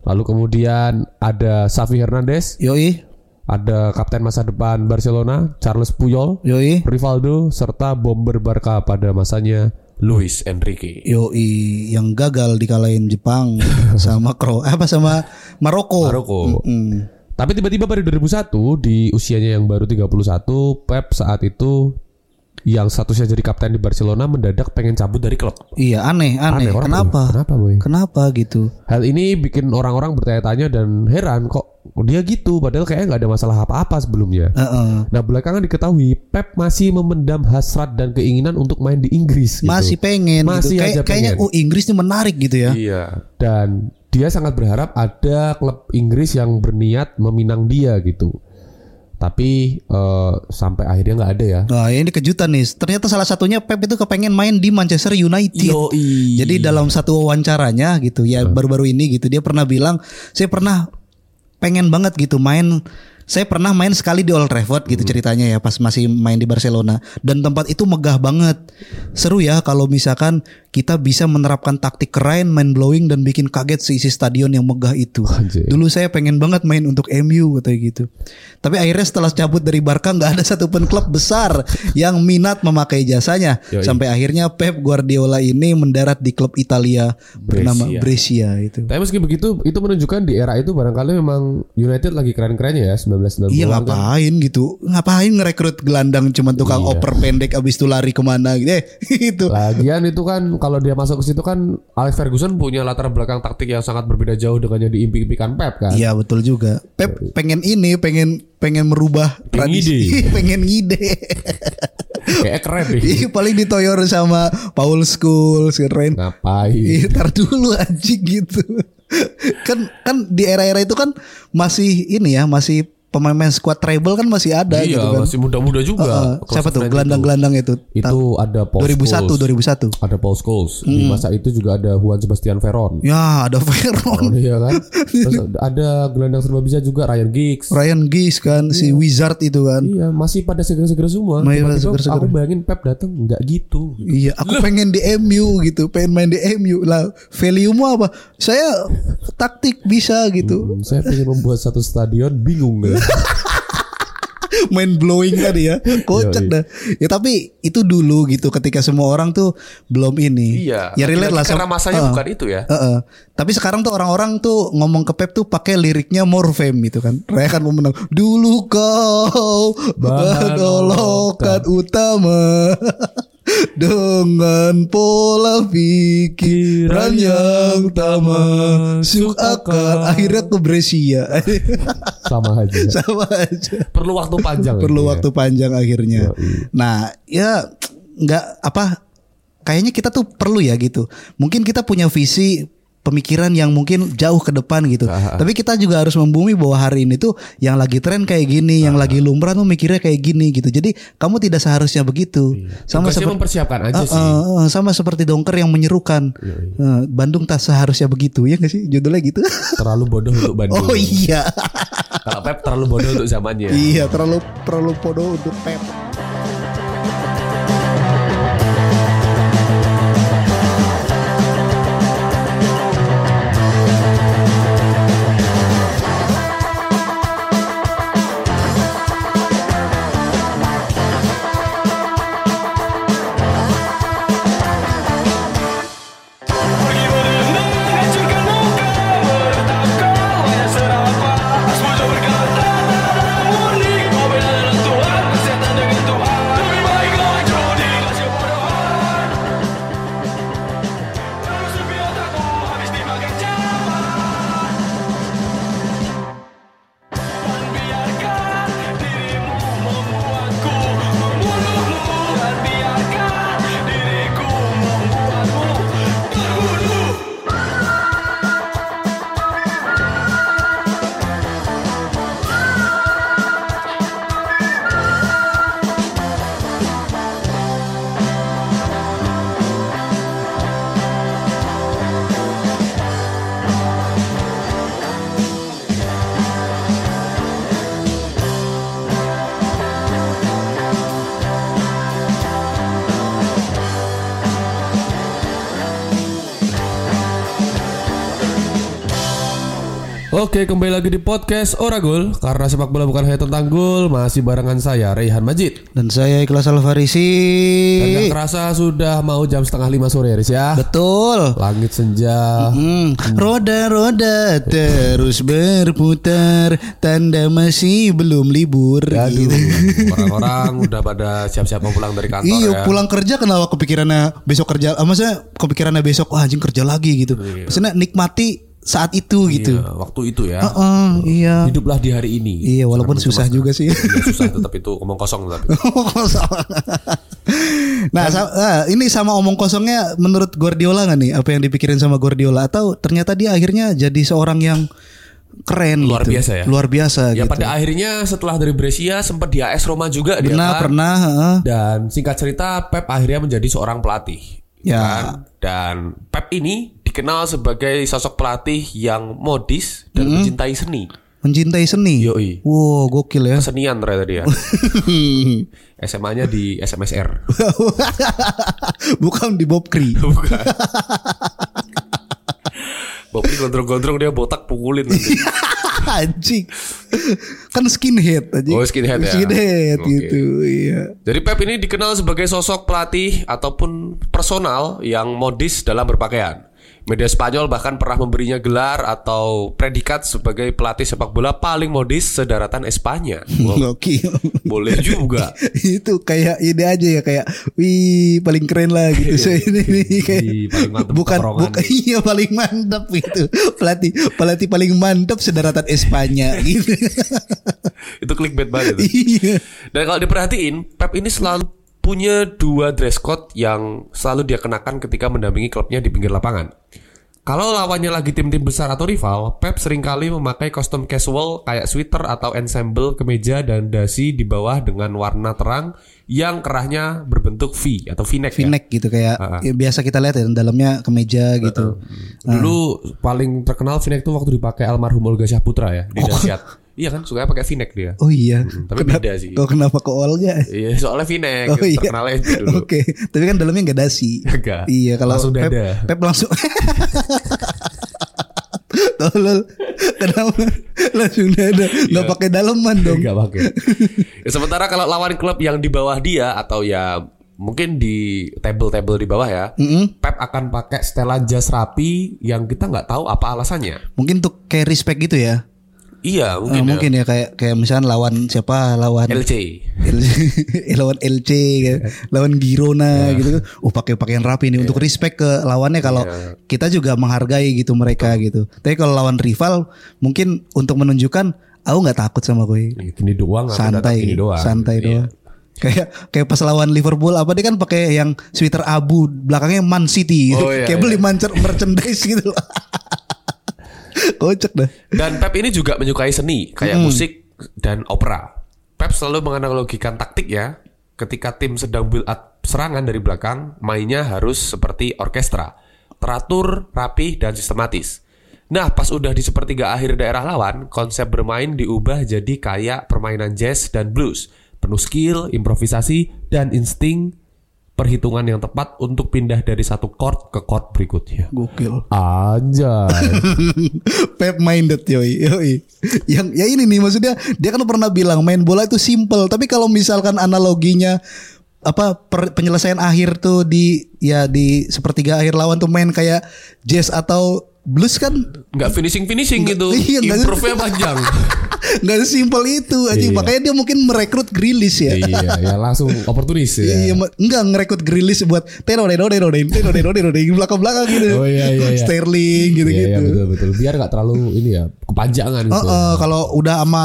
Speaker 3: Lalu kemudian ada Xavi Hernandez,
Speaker 2: Yoi,
Speaker 3: ada kapten masa depan Barcelona Charles Puyol,
Speaker 2: yoi,
Speaker 3: Rivaldo serta bomber Barca pada masanya Luis Enrique.
Speaker 2: yoi yang gagal dikalahin Jepang
Speaker 3: <laughs>
Speaker 2: sama Kro apa sama Maroko.
Speaker 3: Maroko.
Speaker 2: Hmm.
Speaker 3: Tapi tiba-tiba pada 2001 di usianya yang baru 31, Pep saat itu yang statusnya jadi kapten di Barcelona mendadak pengen cabut dari klub.
Speaker 2: Iya, aneh, aneh.
Speaker 3: Aneh, orang
Speaker 2: Kenapa?
Speaker 3: bingung, kenapa, Boy?
Speaker 2: Kenapa gitu?
Speaker 3: Hal ini bikin orang-orang bertanya-tanya dan heran kok dia gitu padahal kayaknya nggak ada masalah apa-apa sebelumnya.
Speaker 2: Heeh.
Speaker 3: Nah belakangan diketahui Pep masih memendam hasrat dan keinginan untuk main di Inggris. gitu.
Speaker 2: Masih pengen
Speaker 3: Masih
Speaker 2: gitu. Kayak-
Speaker 3: aja
Speaker 2: Kayaknya
Speaker 3: pengen.
Speaker 2: oh Inggris ini menarik gitu ya.
Speaker 3: Iya. Dan dia sangat berharap ada klub Inggris yang berniat meminang dia gitu. Tapi eh, sampai akhirnya nggak ada ya.
Speaker 2: Nah, ini kejutan nih. Ternyata salah satunya Pep itu kepengen main di Manchester United. Iya.
Speaker 3: iya.
Speaker 2: Jadi dalam satu wawancaranya gitu ya baru-baru ini gitu dia pernah bilang saya pernah pengen banget gitu main saya pernah main sekali di Old Trafford gitu
Speaker 3: Hmm.
Speaker 2: ceritanya ya pas masih main di Barcelona dan tempat itu megah banget. Seru ya kalau misalkan kita bisa menerapkan taktik keren main blowing dan bikin kaget seisi stadion yang megah itu.
Speaker 3: Anjir.
Speaker 2: Dulu saya pengen banget main untuk MU katanya gitu. Tapi akhirnya setelah cabut dari Barca nggak ada satupun klub besar yang minat memakai jasanya.
Speaker 3: Yoi.
Speaker 2: Sampai akhirnya Pep Guardiola ini mendarat di klub Italia bernama Brescia itu.
Speaker 3: Tapi meski begitu itu menunjukkan di era itu barangkali memang United lagi keren-kerennya ya 1990
Speaker 2: Iya ngapain gitu Ngapain ngerekrut gelandang Cuman tukang
Speaker 3: Iya.
Speaker 2: oper pendek Abis itu lari kemana gitu Eh, <laughs> Gitu
Speaker 3: Lagian itu kan kalau dia masuk ke situ kan Alex Ferguson punya latar belakang taktik yang sangat berbeda jauh dengan yang diimpi-impikan Pep kan.
Speaker 2: Iya betul juga Pep pengen ini Pengen pengen merubah
Speaker 3: Pengen
Speaker 2: tradisi <laughs> Pengen
Speaker 3: <laughs>
Speaker 2: ngide
Speaker 3: Kayak keren nih.
Speaker 2: Ih, Paling ditoyor sama Paul Scholes
Speaker 3: Nah,
Speaker 2: Keren
Speaker 3: Ngapain?
Speaker 2: Ih, Iya, Ntar dulu anjing gitu. kan kan di era-era itu kan masih ini ya, masih pemain-pemain squad treble kan masih ada
Speaker 3: Iya,
Speaker 2: gitu kan.
Speaker 3: masih muda-muda juga.
Speaker 2: Heeh. siapa tuh gelandang-gelandang itu? Ta-
Speaker 3: Itu ada Paul
Speaker 2: 2001
Speaker 3: Scholes.
Speaker 2: 2001.
Speaker 3: ada Paul Scholes di
Speaker 2: Hmm.
Speaker 3: masa itu juga ada Juan Sebastian
Speaker 2: <laughs>
Speaker 3: Veron
Speaker 2: Ya, ada Veron,
Speaker 3: iya kan Terus
Speaker 2: <laughs>
Speaker 3: ada gelandang serba bisa juga Ryan Giggs
Speaker 2: Ryan Giggs kan, si Wizard itu kan.
Speaker 3: iya masih pada seger-seger semua
Speaker 2: Masih pada
Speaker 3: Tiba-tiba
Speaker 2: seger-seger.
Speaker 3: aku bayangin Pep datang nggak gitu
Speaker 2: Iya, aku pengen di MU gitu, pengen main di MU. Lah, value-mu apa? Saya taktik bisa gitu.
Speaker 3: Hmm, saya pengen membuat satu stadion bingung kan
Speaker 2: main blowing tadi ya <laughs> kocak
Speaker 3: Yoi.
Speaker 2: dah ya tapi itu dulu gitu ketika semua orang tuh belum ini ya relate lah sama- Heeh.
Speaker 3: itu ya
Speaker 2: Heeh. tapi sekarang tuh orang-orang tuh ngomong ke Pep tuh pakai liriknya more fame gitu kan rayakan pemenang dulu kau
Speaker 3: Bahan
Speaker 2: bahadolokan utama <laughs> dengan pola pikiran yang tamak suk akal akhirnya ke Brescia <laughs>
Speaker 3: sama aja
Speaker 2: sama aja
Speaker 3: perlu waktu panjang ya.
Speaker 2: perlu
Speaker 3: intinya.
Speaker 2: waktu panjang akhirnya.
Speaker 3: Iya. Yoi.
Speaker 2: Nah, ya nggak apa kayaknya kita tuh perlu ya gitu. Mungkin kita punya visi pemikiran yang mungkin jauh ke depan gitu.
Speaker 3: Ah,
Speaker 2: Tapi kita juga harus membumi bahwa hari ini tuh yang lagi tren kayak
Speaker 3: Ah,
Speaker 2: gini, yang lagi lumrah tuh mikirnya kayak gini gitu. Jadi kamu tidak seharusnya begitu. Sama
Speaker 3: Iya. Tugasnya
Speaker 2: seperti
Speaker 3: mempersiapkan aja sih
Speaker 2: Eh, eh, eh, sama seperti dongker yang menyerukan Eh, Bandung tak seharusnya begitu ya nggak sih judulnya gitu. <laughs>
Speaker 3: terlalu bodoh untuk Bandung
Speaker 2: oh iya,
Speaker 3: kalau Pep terlalu bodoh untuk zamannya
Speaker 2: iya terlalu terlalu podo untuk pep.
Speaker 3: Oke, kembali lagi di podcast Oragol karena sepak bola bukan hanya tentang gol, masih barengan saya Rehan Majid.
Speaker 2: Dan saya Ikhlas Alfarisi.
Speaker 3: Dan
Speaker 2: Iya.
Speaker 3: nggak terasa sudah mau jam setengah lima sore, Riz ya.
Speaker 2: Betul.
Speaker 3: Langit senja.
Speaker 2: Hmm, roda-roda terus berputar, tanda masih belum libur.
Speaker 3: Aduh,
Speaker 2: gitu.
Speaker 3: orang-orang udah pada siap-siap mau pulang dari kantor
Speaker 2: Iya,
Speaker 3: ya.
Speaker 2: pulang kerja kenapa kepikirannya besok kerja? Ah, maksudnya kepikirannya besok wah anjing kerja lagi gitu. Maksudnya nikmati saat itu gitu.
Speaker 3: Iya, waktu itu ya.
Speaker 2: Heeh, iya.
Speaker 3: Hiduplah di hari ini.
Speaker 2: Iya, walaupun
Speaker 3: Jangan
Speaker 2: susah
Speaker 3: mencemaskan.
Speaker 2: juga sih.
Speaker 3: Iya, susah tetap itu omong kosong tapi.
Speaker 2: Omong kosong. <laughs> nah,
Speaker 3: Kan-
Speaker 2: sa- ah, ini sama omong kosongnya menurut Guardiola nggak nih? Apa yang dipikirin sama Guardiola atau ternyata dia akhirnya jadi seorang yang keren
Speaker 3: Luar
Speaker 2: gitu.
Speaker 3: biasa ya?
Speaker 2: Luar biasa
Speaker 3: Ya
Speaker 2: gitu.
Speaker 3: pada akhirnya setelah dari Brescia sempat di AS Roma juga dia
Speaker 2: Pernah
Speaker 3: kan.
Speaker 2: pernah, heeh.
Speaker 3: Dan singkat cerita Pep akhirnya menjadi seorang pelatih.
Speaker 2: Ya.
Speaker 3: kan? Dan Pep ini dikenal sebagai sosok pelatih yang modis dan mencintai seni.
Speaker 2: mencintai seni.
Speaker 3: Yoi.
Speaker 2: Wow,
Speaker 3: <laughs>
Speaker 2: gokil ya.
Speaker 3: Kesenian ternyata
Speaker 2: <laughs>
Speaker 3: dia. SMA-nya di SMSR.
Speaker 2: Bukan di Bob
Speaker 3: <laughs>
Speaker 2: Kri.
Speaker 3: Bukan. Bobby gondrong-gondrong dia botak pukulin nanti.
Speaker 2: <laughs> anjing. Kan skinhead anjing.
Speaker 3: Oh, skinhead ya.
Speaker 2: Skinhead
Speaker 3: Oke.
Speaker 2: gitu, iya.
Speaker 3: Jadi Pep ini dikenal sebagai sosok pelatih ataupun personal yang modis dalam berpakaian. Media Spanyol bahkan pernah memberinya gelar atau predikat sebagai pelatih sepak bola paling modis sedaratan Espanya.
Speaker 2: <laughs>
Speaker 3: Wow,
Speaker 2: Gokil.
Speaker 3: boleh juga.
Speaker 2: <laughs> itu kayak ini aja ya kayak wih paling keren lah gitu so <laughs> ini nih kayak
Speaker 3: Ih, Iya, paling mantep gitu.
Speaker 2: bukan
Speaker 3: tongkrongan.
Speaker 2: bukan iya paling mantap gitu pelatih pelatih paling mantap sederatan Espanya <laughs> gitu
Speaker 3: Itu clickbait banget. itu.
Speaker 2: iya
Speaker 3: Dan kalau diperhatiin, Pep ini selalu punya dua dress code yang selalu dia kenakan ketika mendampingi klubnya di pinggir lapangan. Kalau lawannya lagi tim-tim besar atau rival, Pep seringkali memakai kostum casual kayak sweater atau ensemble kemeja dan dasi di bawah dengan warna terang yang kerahnya berbentuk V atau V-neck. ya.
Speaker 2: V-neck gitu kayak ya, biasa kita lihat ya dalamnya kemeja gitu
Speaker 3: Dulu paling terkenal V-neck tuh waktu dipakai almarhum Olga Syahputra ya di Dasyat. iya kan, sukanya pakai V-neck dia.
Speaker 2: oh iya
Speaker 3: Tapi
Speaker 2: Kenapa-
Speaker 3: beda sih.
Speaker 2: kok kenapa ke Olga
Speaker 3: Iya, soalnya V-neck,
Speaker 2: Oh iya.
Speaker 3: terkenalnya itu dulu.
Speaker 2: <laughs> Oke, tapi kan dalamnya nggak dasi.
Speaker 3: Nggak.
Speaker 2: Iya, kalau
Speaker 3: Langsung
Speaker 2: Pep,
Speaker 3: dada.
Speaker 2: Pep langsung. <laughs> Tolol. Kenapa langsung dada? Nggak pakai daleman dong.
Speaker 3: Iya. Nggak pakai. Ya, <laughs> sementara kalau lawan klub yang di bawah dia atau ya mungkin di table-table di bawah ya, Pep akan pakai setelan jas rapi yang kita nggak tahu apa alasannya.
Speaker 2: Mungkin tuh kayak respect gitu ya.
Speaker 3: Iya
Speaker 2: Eh, Mungkin,
Speaker 3: mungkin. ya.
Speaker 2: ya kayak kayak misalnya lawan siapa? Lawan
Speaker 3: LC.
Speaker 2: LC, <laughs> lawan LC, kayak-
Speaker 3: Iya.
Speaker 2: lawan Girona gitu. Oh, pakai pakaian rapi nih untuk respect ke lawannya kalau
Speaker 3: Iya.
Speaker 2: kita juga menghargai gitu mereka gitu. Tapi kalau lawan rival mungkin untuk menunjukkan aku nggak takut sama gue.
Speaker 3: Gini doang. aku datang
Speaker 2: santai
Speaker 3: gini doang.
Speaker 2: santai
Speaker 3: Iya.
Speaker 2: doang kayak kayak pas lawan Liverpool apa dia kan pakai yang sweater abu belakangnya Man City
Speaker 3: Oh,
Speaker 2: gitu. <laughs>
Speaker 3: iya, iya.
Speaker 2: kayak beli mancer merchandise gitu loh <laughs> kocak dah
Speaker 3: Dan Pep ini juga menyukai seni kayak musik dan opera. Pep selalu menganalogikan taktik ya. Ketika tim sedang build up serangan dari belakang, mainnya harus seperti orkestra, teratur, rapih dan sistematis. Nah, pas udah di sepertiga akhir daerah lawan, konsep bermain diubah jadi kayak permainan jazz dan blues, penuh skill, improvisasi dan insting perhitungan yang tepat untuk pindah dari satu chord ke chord berikutnya.
Speaker 2: gokil
Speaker 3: Anjay.
Speaker 2: Pep minded yoi yoi yang ya ini nih maksudnya dia kan pernah bilang main bola itu simple tapi kalau misalkan analoginya apa per- penyelesaian akhir tuh di ya di sepertiga akhir lawan tuh main kayak jazz atau blues kan
Speaker 3: nggak finishing finishing gitu
Speaker 2: Iya, nggak-
Speaker 3: improve-nya panjang
Speaker 2: nggak sesimpel itu anjing
Speaker 3: Iya.
Speaker 2: makanya dia mungkin merekrut grilis ya
Speaker 3: <laughs> iya ya langsung oportunis ya.
Speaker 2: Iya, ma- enggak ngerekrut grilis buat terode dode dode terode dode dode belakang belakang gitu.
Speaker 3: Oh, iya, iya, iya.
Speaker 2: Sterling gitu gitu.
Speaker 3: betul betul biar nggak terlalu ini ya kepanjangan
Speaker 2: Oh, eh, kalau udah sama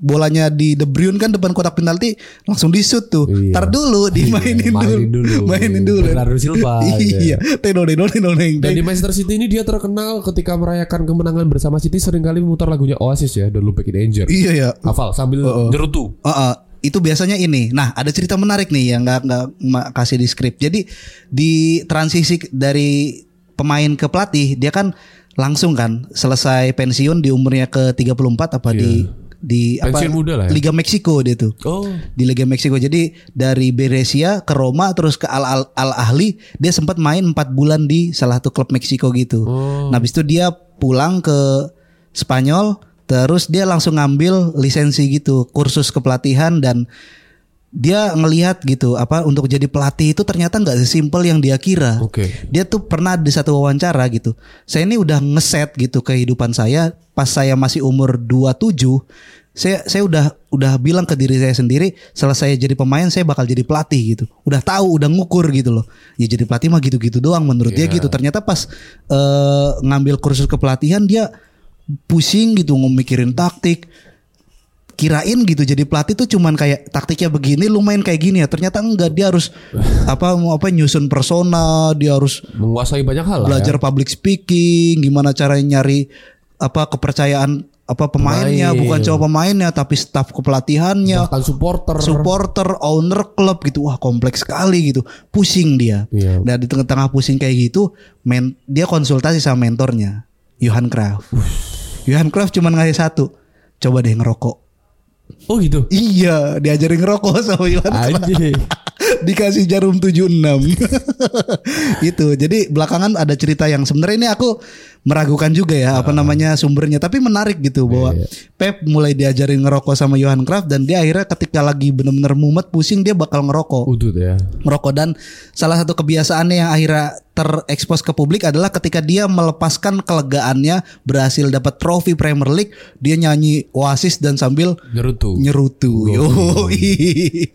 Speaker 2: bolanya di De Bruyne kan depan kotak penalti langsung disut tuh.
Speaker 3: Iya.
Speaker 2: Ntar dulu dimainin
Speaker 3: mainin
Speaker 2: dulu.
Speaker 3: dulu.
Speaker 2: Mainin dulu.
Speaker 3: Bernardo Silva,
Speaker 2: <laughs>
Speaker 3: iya.
Speaker 2: iya. Terode dode dode.
Speaker 3: dan di Manchester City ini dia terkenal ketika merayakan kemenangan bersama City seringkali memutar lagunya Oasis ya dan Look Back in Danger
Speaker 2: Iya ya.
Speaker 3: hafal sambil nyerutu
Speaker 2: Oh, oh. itu biasanya ini. Nah, ada cerita menarik nih yang nggak nggak ma- kasih di skrip. Jadi di transisi k- dari pemain ke pelatih, dia kan langsung kan selesai pensiun di umurnya ke 34 apa di di
Speaker 3: Iya.
Speaker 2: apa
Speaker 3: Pensiun muda lah ya.
Speaker 2: Liga Meksiko dia tuh.
Speaker 3: oh
Speaker 2: Di Liga Meksiko. Jadi dari Beresia ke Roma terus ke Al Al, Al Ahli, dia sempat main 4 bulan di salah satu klub Meksiko gitu. Nah, habis itu dia pulang ke Spanyol terus dia langsung ngambil lisensi gitu kursus kepelatihan dan dia ngelihat gitu apa untuk jadi pelatih itu ternyata nggak sesimpel yang dia kira.
Speaker 3: Oke.
Speaker 2: Dia tuh pernah di satu wawancara gitu. Saya ini udah ngeset gitu kehidupan saya pas saya masih umur 27 saya saya udah udah bilang ke diri saya sendiri setelah saya jadi pemain saya bakal jadi pelatih gitu. Udah tahu, udah ngukur gitu loh. Ya jadi pelatih mah gitu-gitu doang menurut dia gitu. Ternyata pas eh, ngambil kursus kepelatihan dia pusing gitu ngemikirin taktik kirain gitu jadi pelatih tuh cuman kayak taktiknya begini lumayan kayak gini ya ternyata enggak dia harus apa mau apa nyusun persona dia harus
Speaker 3: menguasai banyak hal lah
Speaker 2: belajar
Speaker 3: ya.
Speaker 2: public speaking gimana caranya nyari apa kepercayaan apa pemainnya
Speaker 3: Pemain.
Speaker 2: bukan cuma pemainnya tapi staf kepelatihannya
Speaker 3: bahkan supporter
Speaker 2: supporter owner klub gitu wah kompleks sekali gitu pusing dia
Speaker 3: Iya.
Speaker 2: nah di tengah-tengah pusing kayak gitu men dia konsultasi sama mentornya Johan Kraft Johan Kraft cuman ngasih satu coba deh ngerokok
Speaker 3: oh gitu
Speaker 2: Iya, diajarin ngerokok sama Iwan.
Speaker 3: anjing
Speaker 2: <laughs> Dikasih jarum 76. <laughs> itu. Jadi belakangan ada cerita yang sebenarnya ini aku meragukan juga ya apa namanya sumbernya, tapi menarik gitu bahwa
Speaker 3: Iya.
Speaker 2: Pep mulai diajarin ngerokok sama Johan Kraft dan dia akhirnya ketika lagi bener-bener mumet pusing dia bakal ngerokok.
Speaker 3: udut ya
Speaker 2: Merokok dan salah satu kebiasaannya yang akhirnya terekspos ke publik adalah ketika dia melepaskan kelegaannya berhasil dapat trofi Premier League, dia nyanyi Oasis dan sambil
Speaker 3: nyerutu
Speaker 2: nyerutu Oh, yoi <laughs>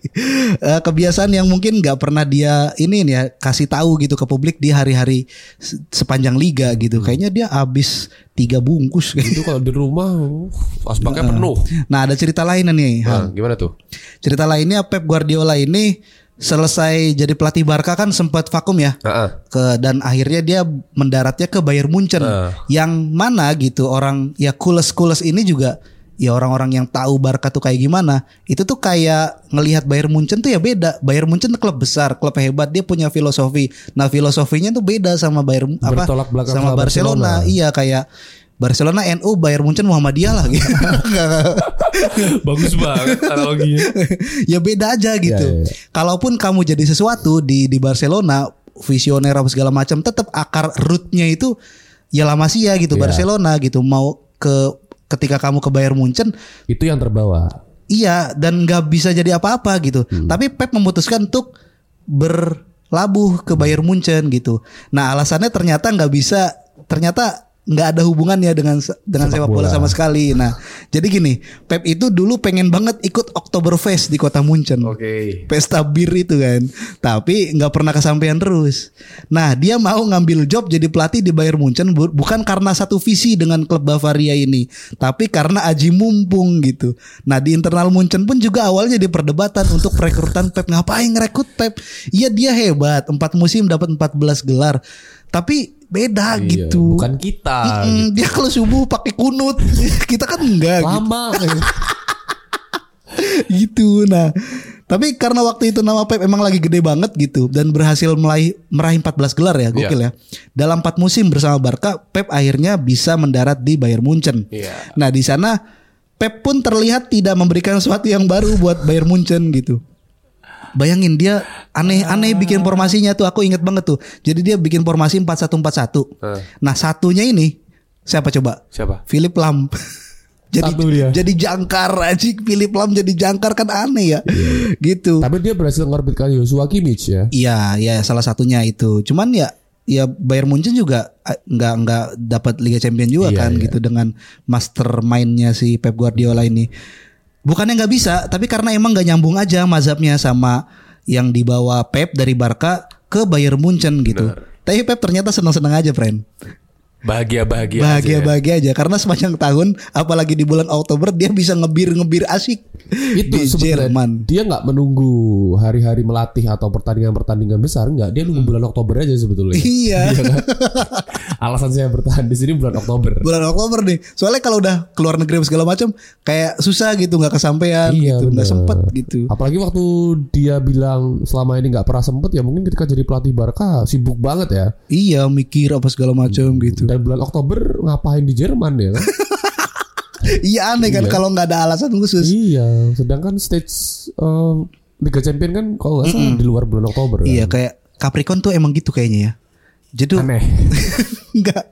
Speaker 2: Eh, kebiasaan yang mungkin nggak pernah dia ini nih ya kasih tahu gitu ke publik di hari-hari se- sepanjang liga gitu kayaknya dia habis tiga bungkus
Speaker 3: itu kalau di rumah uh, asbaknya penuh
Speaker 2: <laughs> nah ada cerita lain nih
Speaker 3: Nah,
Speaker 2: Hal.
Speaker 3: gimana tuh
Speaker 2: cerita lainnya Pep Guardiola ini selesai jadi pelatih Barca kan sempat vakum ya
Speaker 3: Ah,
Speaker 2: ke dan akhirnya dia mendaratnya ke Bayern Munchen
Speaker 3: Eh.
Speaker 2: yang mana gitu orang ya kules-kules ini juga ya orang-orang yang tahu Barca tuh kayak gimana itu tuh kayak ngelihat Bayern Munchen tuh ya beda Bayern Munchen klub besar klub hebat dia punya filosofi nah filosofinya tuh beda sama Bayern apa
Speaker 3: Bertolak belakang sama
Speaker 2: sama Barcelona.
Speaker 3: Barcelona.
Speaker 2: iya kayak Barcelona NU Bayern Munchen Muhammadiyah lah gitu
Speaker 3: <laughs> bagus banget analoginya
Speaker 2: <laughs> ya beda aja gitu.
Speaker 3: Ya, ya, ya.
Speaker 2: Kalaupun kamu jadi sesuatu di di Barcelona, visioner apa segala macam, tetap akar rootnya itu ya La Masia gitu,
Speaker 3: Ya.
Speaker 2: Barcelona gitu. Mau ke ketika kamu ke Bayern Munchen,
Speaker 3: itu yang terbawa
Speaker 2: iya dan nggak bisa jadi apa-apa gitu.
Speaker 3: Hmm.
Speaker 2: Tapi Pep memutuskan untuk
Speaker 3: Hmm.
Speaker 2: berlabuh ke Bayern Munchen gitu. Nah alasannya ternyata nggak bisa, ternyata nggak ada hubungannya dengan dengan sepak,
Speaker 3: Sepak bola.
Speaker 2: bola. sama sekali. Nah jadi gini, Pep itu dulu pengen banget ikut Oktoberfest di kota Munchen pesta bir itu kan tapi nggak pernah kesampaian terus nah dia mau ngambil job jadi pelatih di Bayern Munchen bu- bukan karena satu visi dengan klub Bavaria ini tapi karena aji mumpung gitu nah di internal Munchen pun juga awalnya di perdebatan untuk perekrutan Pep ngapain ngerekrut Pep iya dia hebat empat musim dapat 14 gelar tapi beda
Speaker 3: Iya,
Speaker 2: gitu
Speaker 3: bukan kita gitu.
Speaker 2: Mm-mm, dia kalau subuh pakai kunut <laughs> kita kan enggak gitu
Speaker 3: lama
Speaker 2: gitu nah tapi karena waktu itu nama Pep emang lagi gede banget gitu dan berhasil melaih, meraih 14 gelar ya gokil ya dalam 4 musim bersama Barca Pep akhirnya bisa mendarat di Bayern Munchen
Speaker 3: Iya.
Speaker 2: nah di sana Pep pun terlihat tidak memberikan sesuatu yang baru buat Bayern Munchen gitu Bayangin dia aneh-aneh bikin formasinya tuh aku inget banget tuh. Jadi dia bikin formasi 4141. Nah, satunya ini siapa coba?
Speaker 3: siapa
Speaker 2: Philip Lam. <laughs> jadi
Speaker 3: Satu dia.
Speaker 2: jadi jangkar anjing Philip Lam jadi jangkar kan aneh ya. gitu.
Speaker 3: Iya. tapi dia berhasil ngorbitkan Joshua Kimmich ya
Speaker 2: Iya, ya salah satunya itu. Cuman ya ya Bayern Munchen juga eh, nggak nggak dapat Liga Champion juga
Speaker 3: Iya,
Speaker 2: kan
Speaker 3: iya.
Speaker 2: gitu dengan mastermindnya si Pep Guardiola ini. Bukannya nggak bisa, tapi karena emang nggak nyambung aja mazhabnya sama yang dibawa Pep dari Barca ke Bayern Munchen gitu. Tapi Pep ternyata senang-senang aja, friend.
Speaker 3: bahagia bahagia
Speaker 2: Bahagia-bahagia aja karena sepanjang tahun apalagi di bulan Oktober dia bisa ngebir-ngebir asik
Speaker 3: itu
Speaker 2: di
Speaker 3: sebenarnya
Speaker 2: Jerman.
Speaker 3: dia nggak menunggu hari-hari melatih atau pertandingan-pertandingan besar nggak dia nunggu bulan Oktober aja sebetulnya
Speaker 2: Mm. Iya.
Speaker 3: kan? alasan saya bertahan di sini bulan Oktober
Speaker 2: bulan Oktober nih. Soalnya kalau udah keluar negeri apa segala macam kayak susah gitu nggak kesampaian
Speaker 3: Iya,
Speaker 2: gitu,
Speaker 3: bener.
Speaker 2: nggak sempet gitu.
Speaker 3: apalagi waktu dia bilang selama ini nggak pernah sempet ya mungkin ketika jadi pelatih Barca sibuk banget ya
Speaker 2: Iya, mikir apa segala macam gitu.
Speaker 3: dan bulan Oktober ngapain di Jerman ya kan
Speaker 2: Iya aneh kan kalau nggak ada alasan khusus.
Speaker 3: iya sedangkan stage eh, Liga Champion kan kalau nggak salah di luar bulan Oktober
Speaker 2: Iya,
Speaker 3: kan?
Speaker 2: kayak <laughs> Capricorn tuh emang gitu kayaknya ya. Jadi
Speaker 3: aneh
Speaker 2: nggak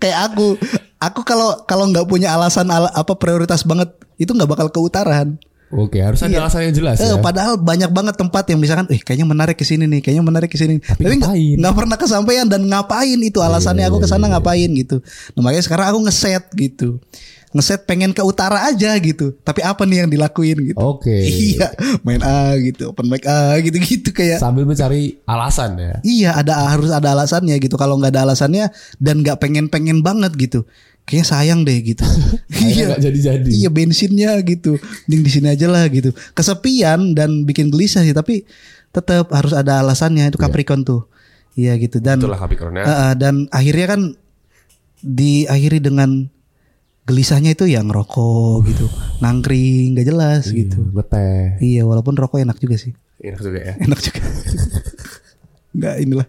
Speaker 2: kayak aku aku kalau kalau nggak punya alasan ala- apa prioritas banget itu nggak bakal keutaran.
Speaker 3: Oke, harus ada alasan yang jelas
Speaker 2: Eh,
Speaker 3: ya.
Speaker 2: Padahal banyak banget tempat yang misalkan, eh kayaknya menarik ke sini nih, kayaknya menarik ke sini. Tapi nggak
Speaker 3: ngapain? Iya,
Speaker 2: nggak pernah kesampaian dan ngapain itu alasannya aku kesana ngapain gitu. Nah, makanya sekarang aku ngeset gitu, ngeset pengen ke utara aja gitu. Tapi apa nih yang dilakuin gitu?
Speaker 3: Oke.
Speaker 2: <laughs> Iya, main A gitu, open mic A gitu-gitu kayak.
Speaker 3: Sambil mencari alasan ya.
Speaker 2: Iya ada harus ada alasannya gitu. Kalau nggak ada alasannya dan nggak pengen-pengen banget gitu, kayaknya sayang deh
Speaker 3: <laughs>
Speaker 2: gitu.
Speaker 3: nggak jadi-jadi.
Speaker 2: Iya bensinnya gitu. Mending di sini aja lah gitu. Kesepian dan bikin gelisah sih, tapi tetap harus ada alasannya. Itu Capricorn tuh. Iya gitu dan
Speaker 3: Itulah Capricorn ya.
Speaker 2: Eh, eh, dan akhirnya kan diakhiri dengan gelisahnya itu ya ngerokok gitu, nangkring nggak jelas
Speaker 3: Iya.
Speaker 2: gitu.
Speaker 3: Ngeteh.
Speaker 2: Iya walaupun rokok enak juga sih <laughs>
Speaker 3: Enak juga ya.
Speaker 2: enak juga nggak inilah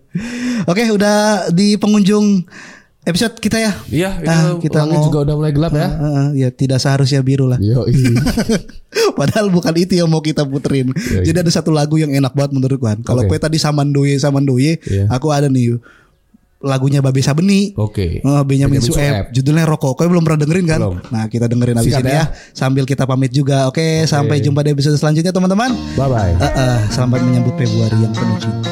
Speaker 2: oke udah di pengunjung episode kita ya
Speaker 3: Iya, itu
Speaker 2: Ah, kita
Speaker 3: langit
Speaker 2: mau-
Speaker 3: juga udah mulai gelap ya.
Speaker 2: Eh, eh, ya tidak seharusnya biru lah
Speaker 3: Yo,
Speaker 2: <laughs> padahal bukan itu yang mau kita puterin
Speaker 3: Iya,
Speaker 2: jadi ada satu lagu yang enak banget menurut gua kalau
Speaker 3: Oke.
Speaker 2: gue tadi samandoye samandoye
Speaker 3: Iya.
Speaker 2: aku ada nih lagunya Babe Sabeni
Speaker 3: Oke.
Speaker 2: Oh,
Speaker 3: Benyamin
Speaker 2: Benyamin
Speaker 3: Sueb.
Speaker 2: Sueb. Judulnya Rokok. Kau belum pernah dengerin kan?
Speaker 3: Belum.
Speaker 2: Nah, kita dengerin abis
Speaker 3: Sikat
Speaker 2: ini
Speaker 3: ya.
Speaker 2: ya. Sambil kita pamit juga. Oke, sampai jumpa di episode selanjutnya teman-teman.
Speaker 3: Bye bye.
Speaker 2: Eh, eh, selamat menyambut Februari yang penuh cinta.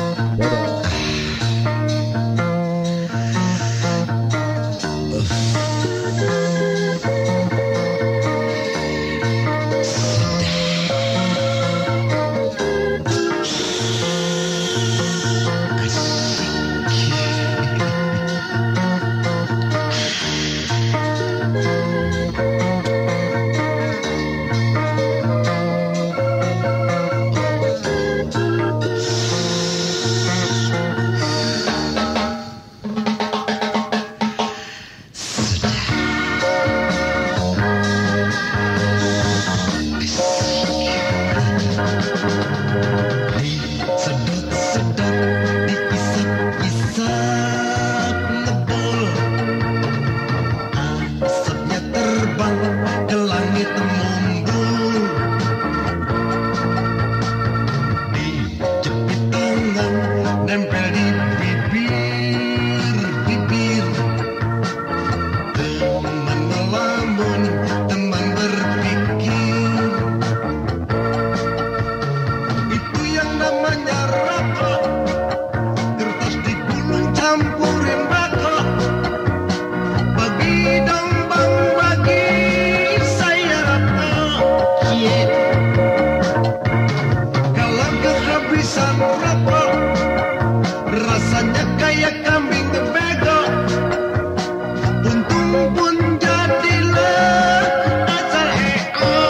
Speaker 5: Sedap diisap-isap nebul Asapnya terbang ke langit mumbul Dijepit tangan nempel di bibir-bibir Teman melamun, teman berpikir itu yang namanya rokok Kertas digulung campurin rokok Bagi dong bang bagi saya rokok Cie. Kalau kehabisan rokok Rasanya kayak kambing bego Untung pun jadilah acar eko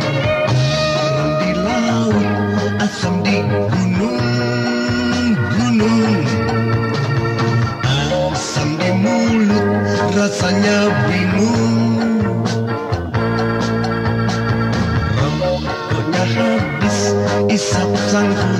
Speaker 5: Garam di laut, asam di gunung-gunung Asam di mulut, rasanya bingung Rokoknya habis, isap sang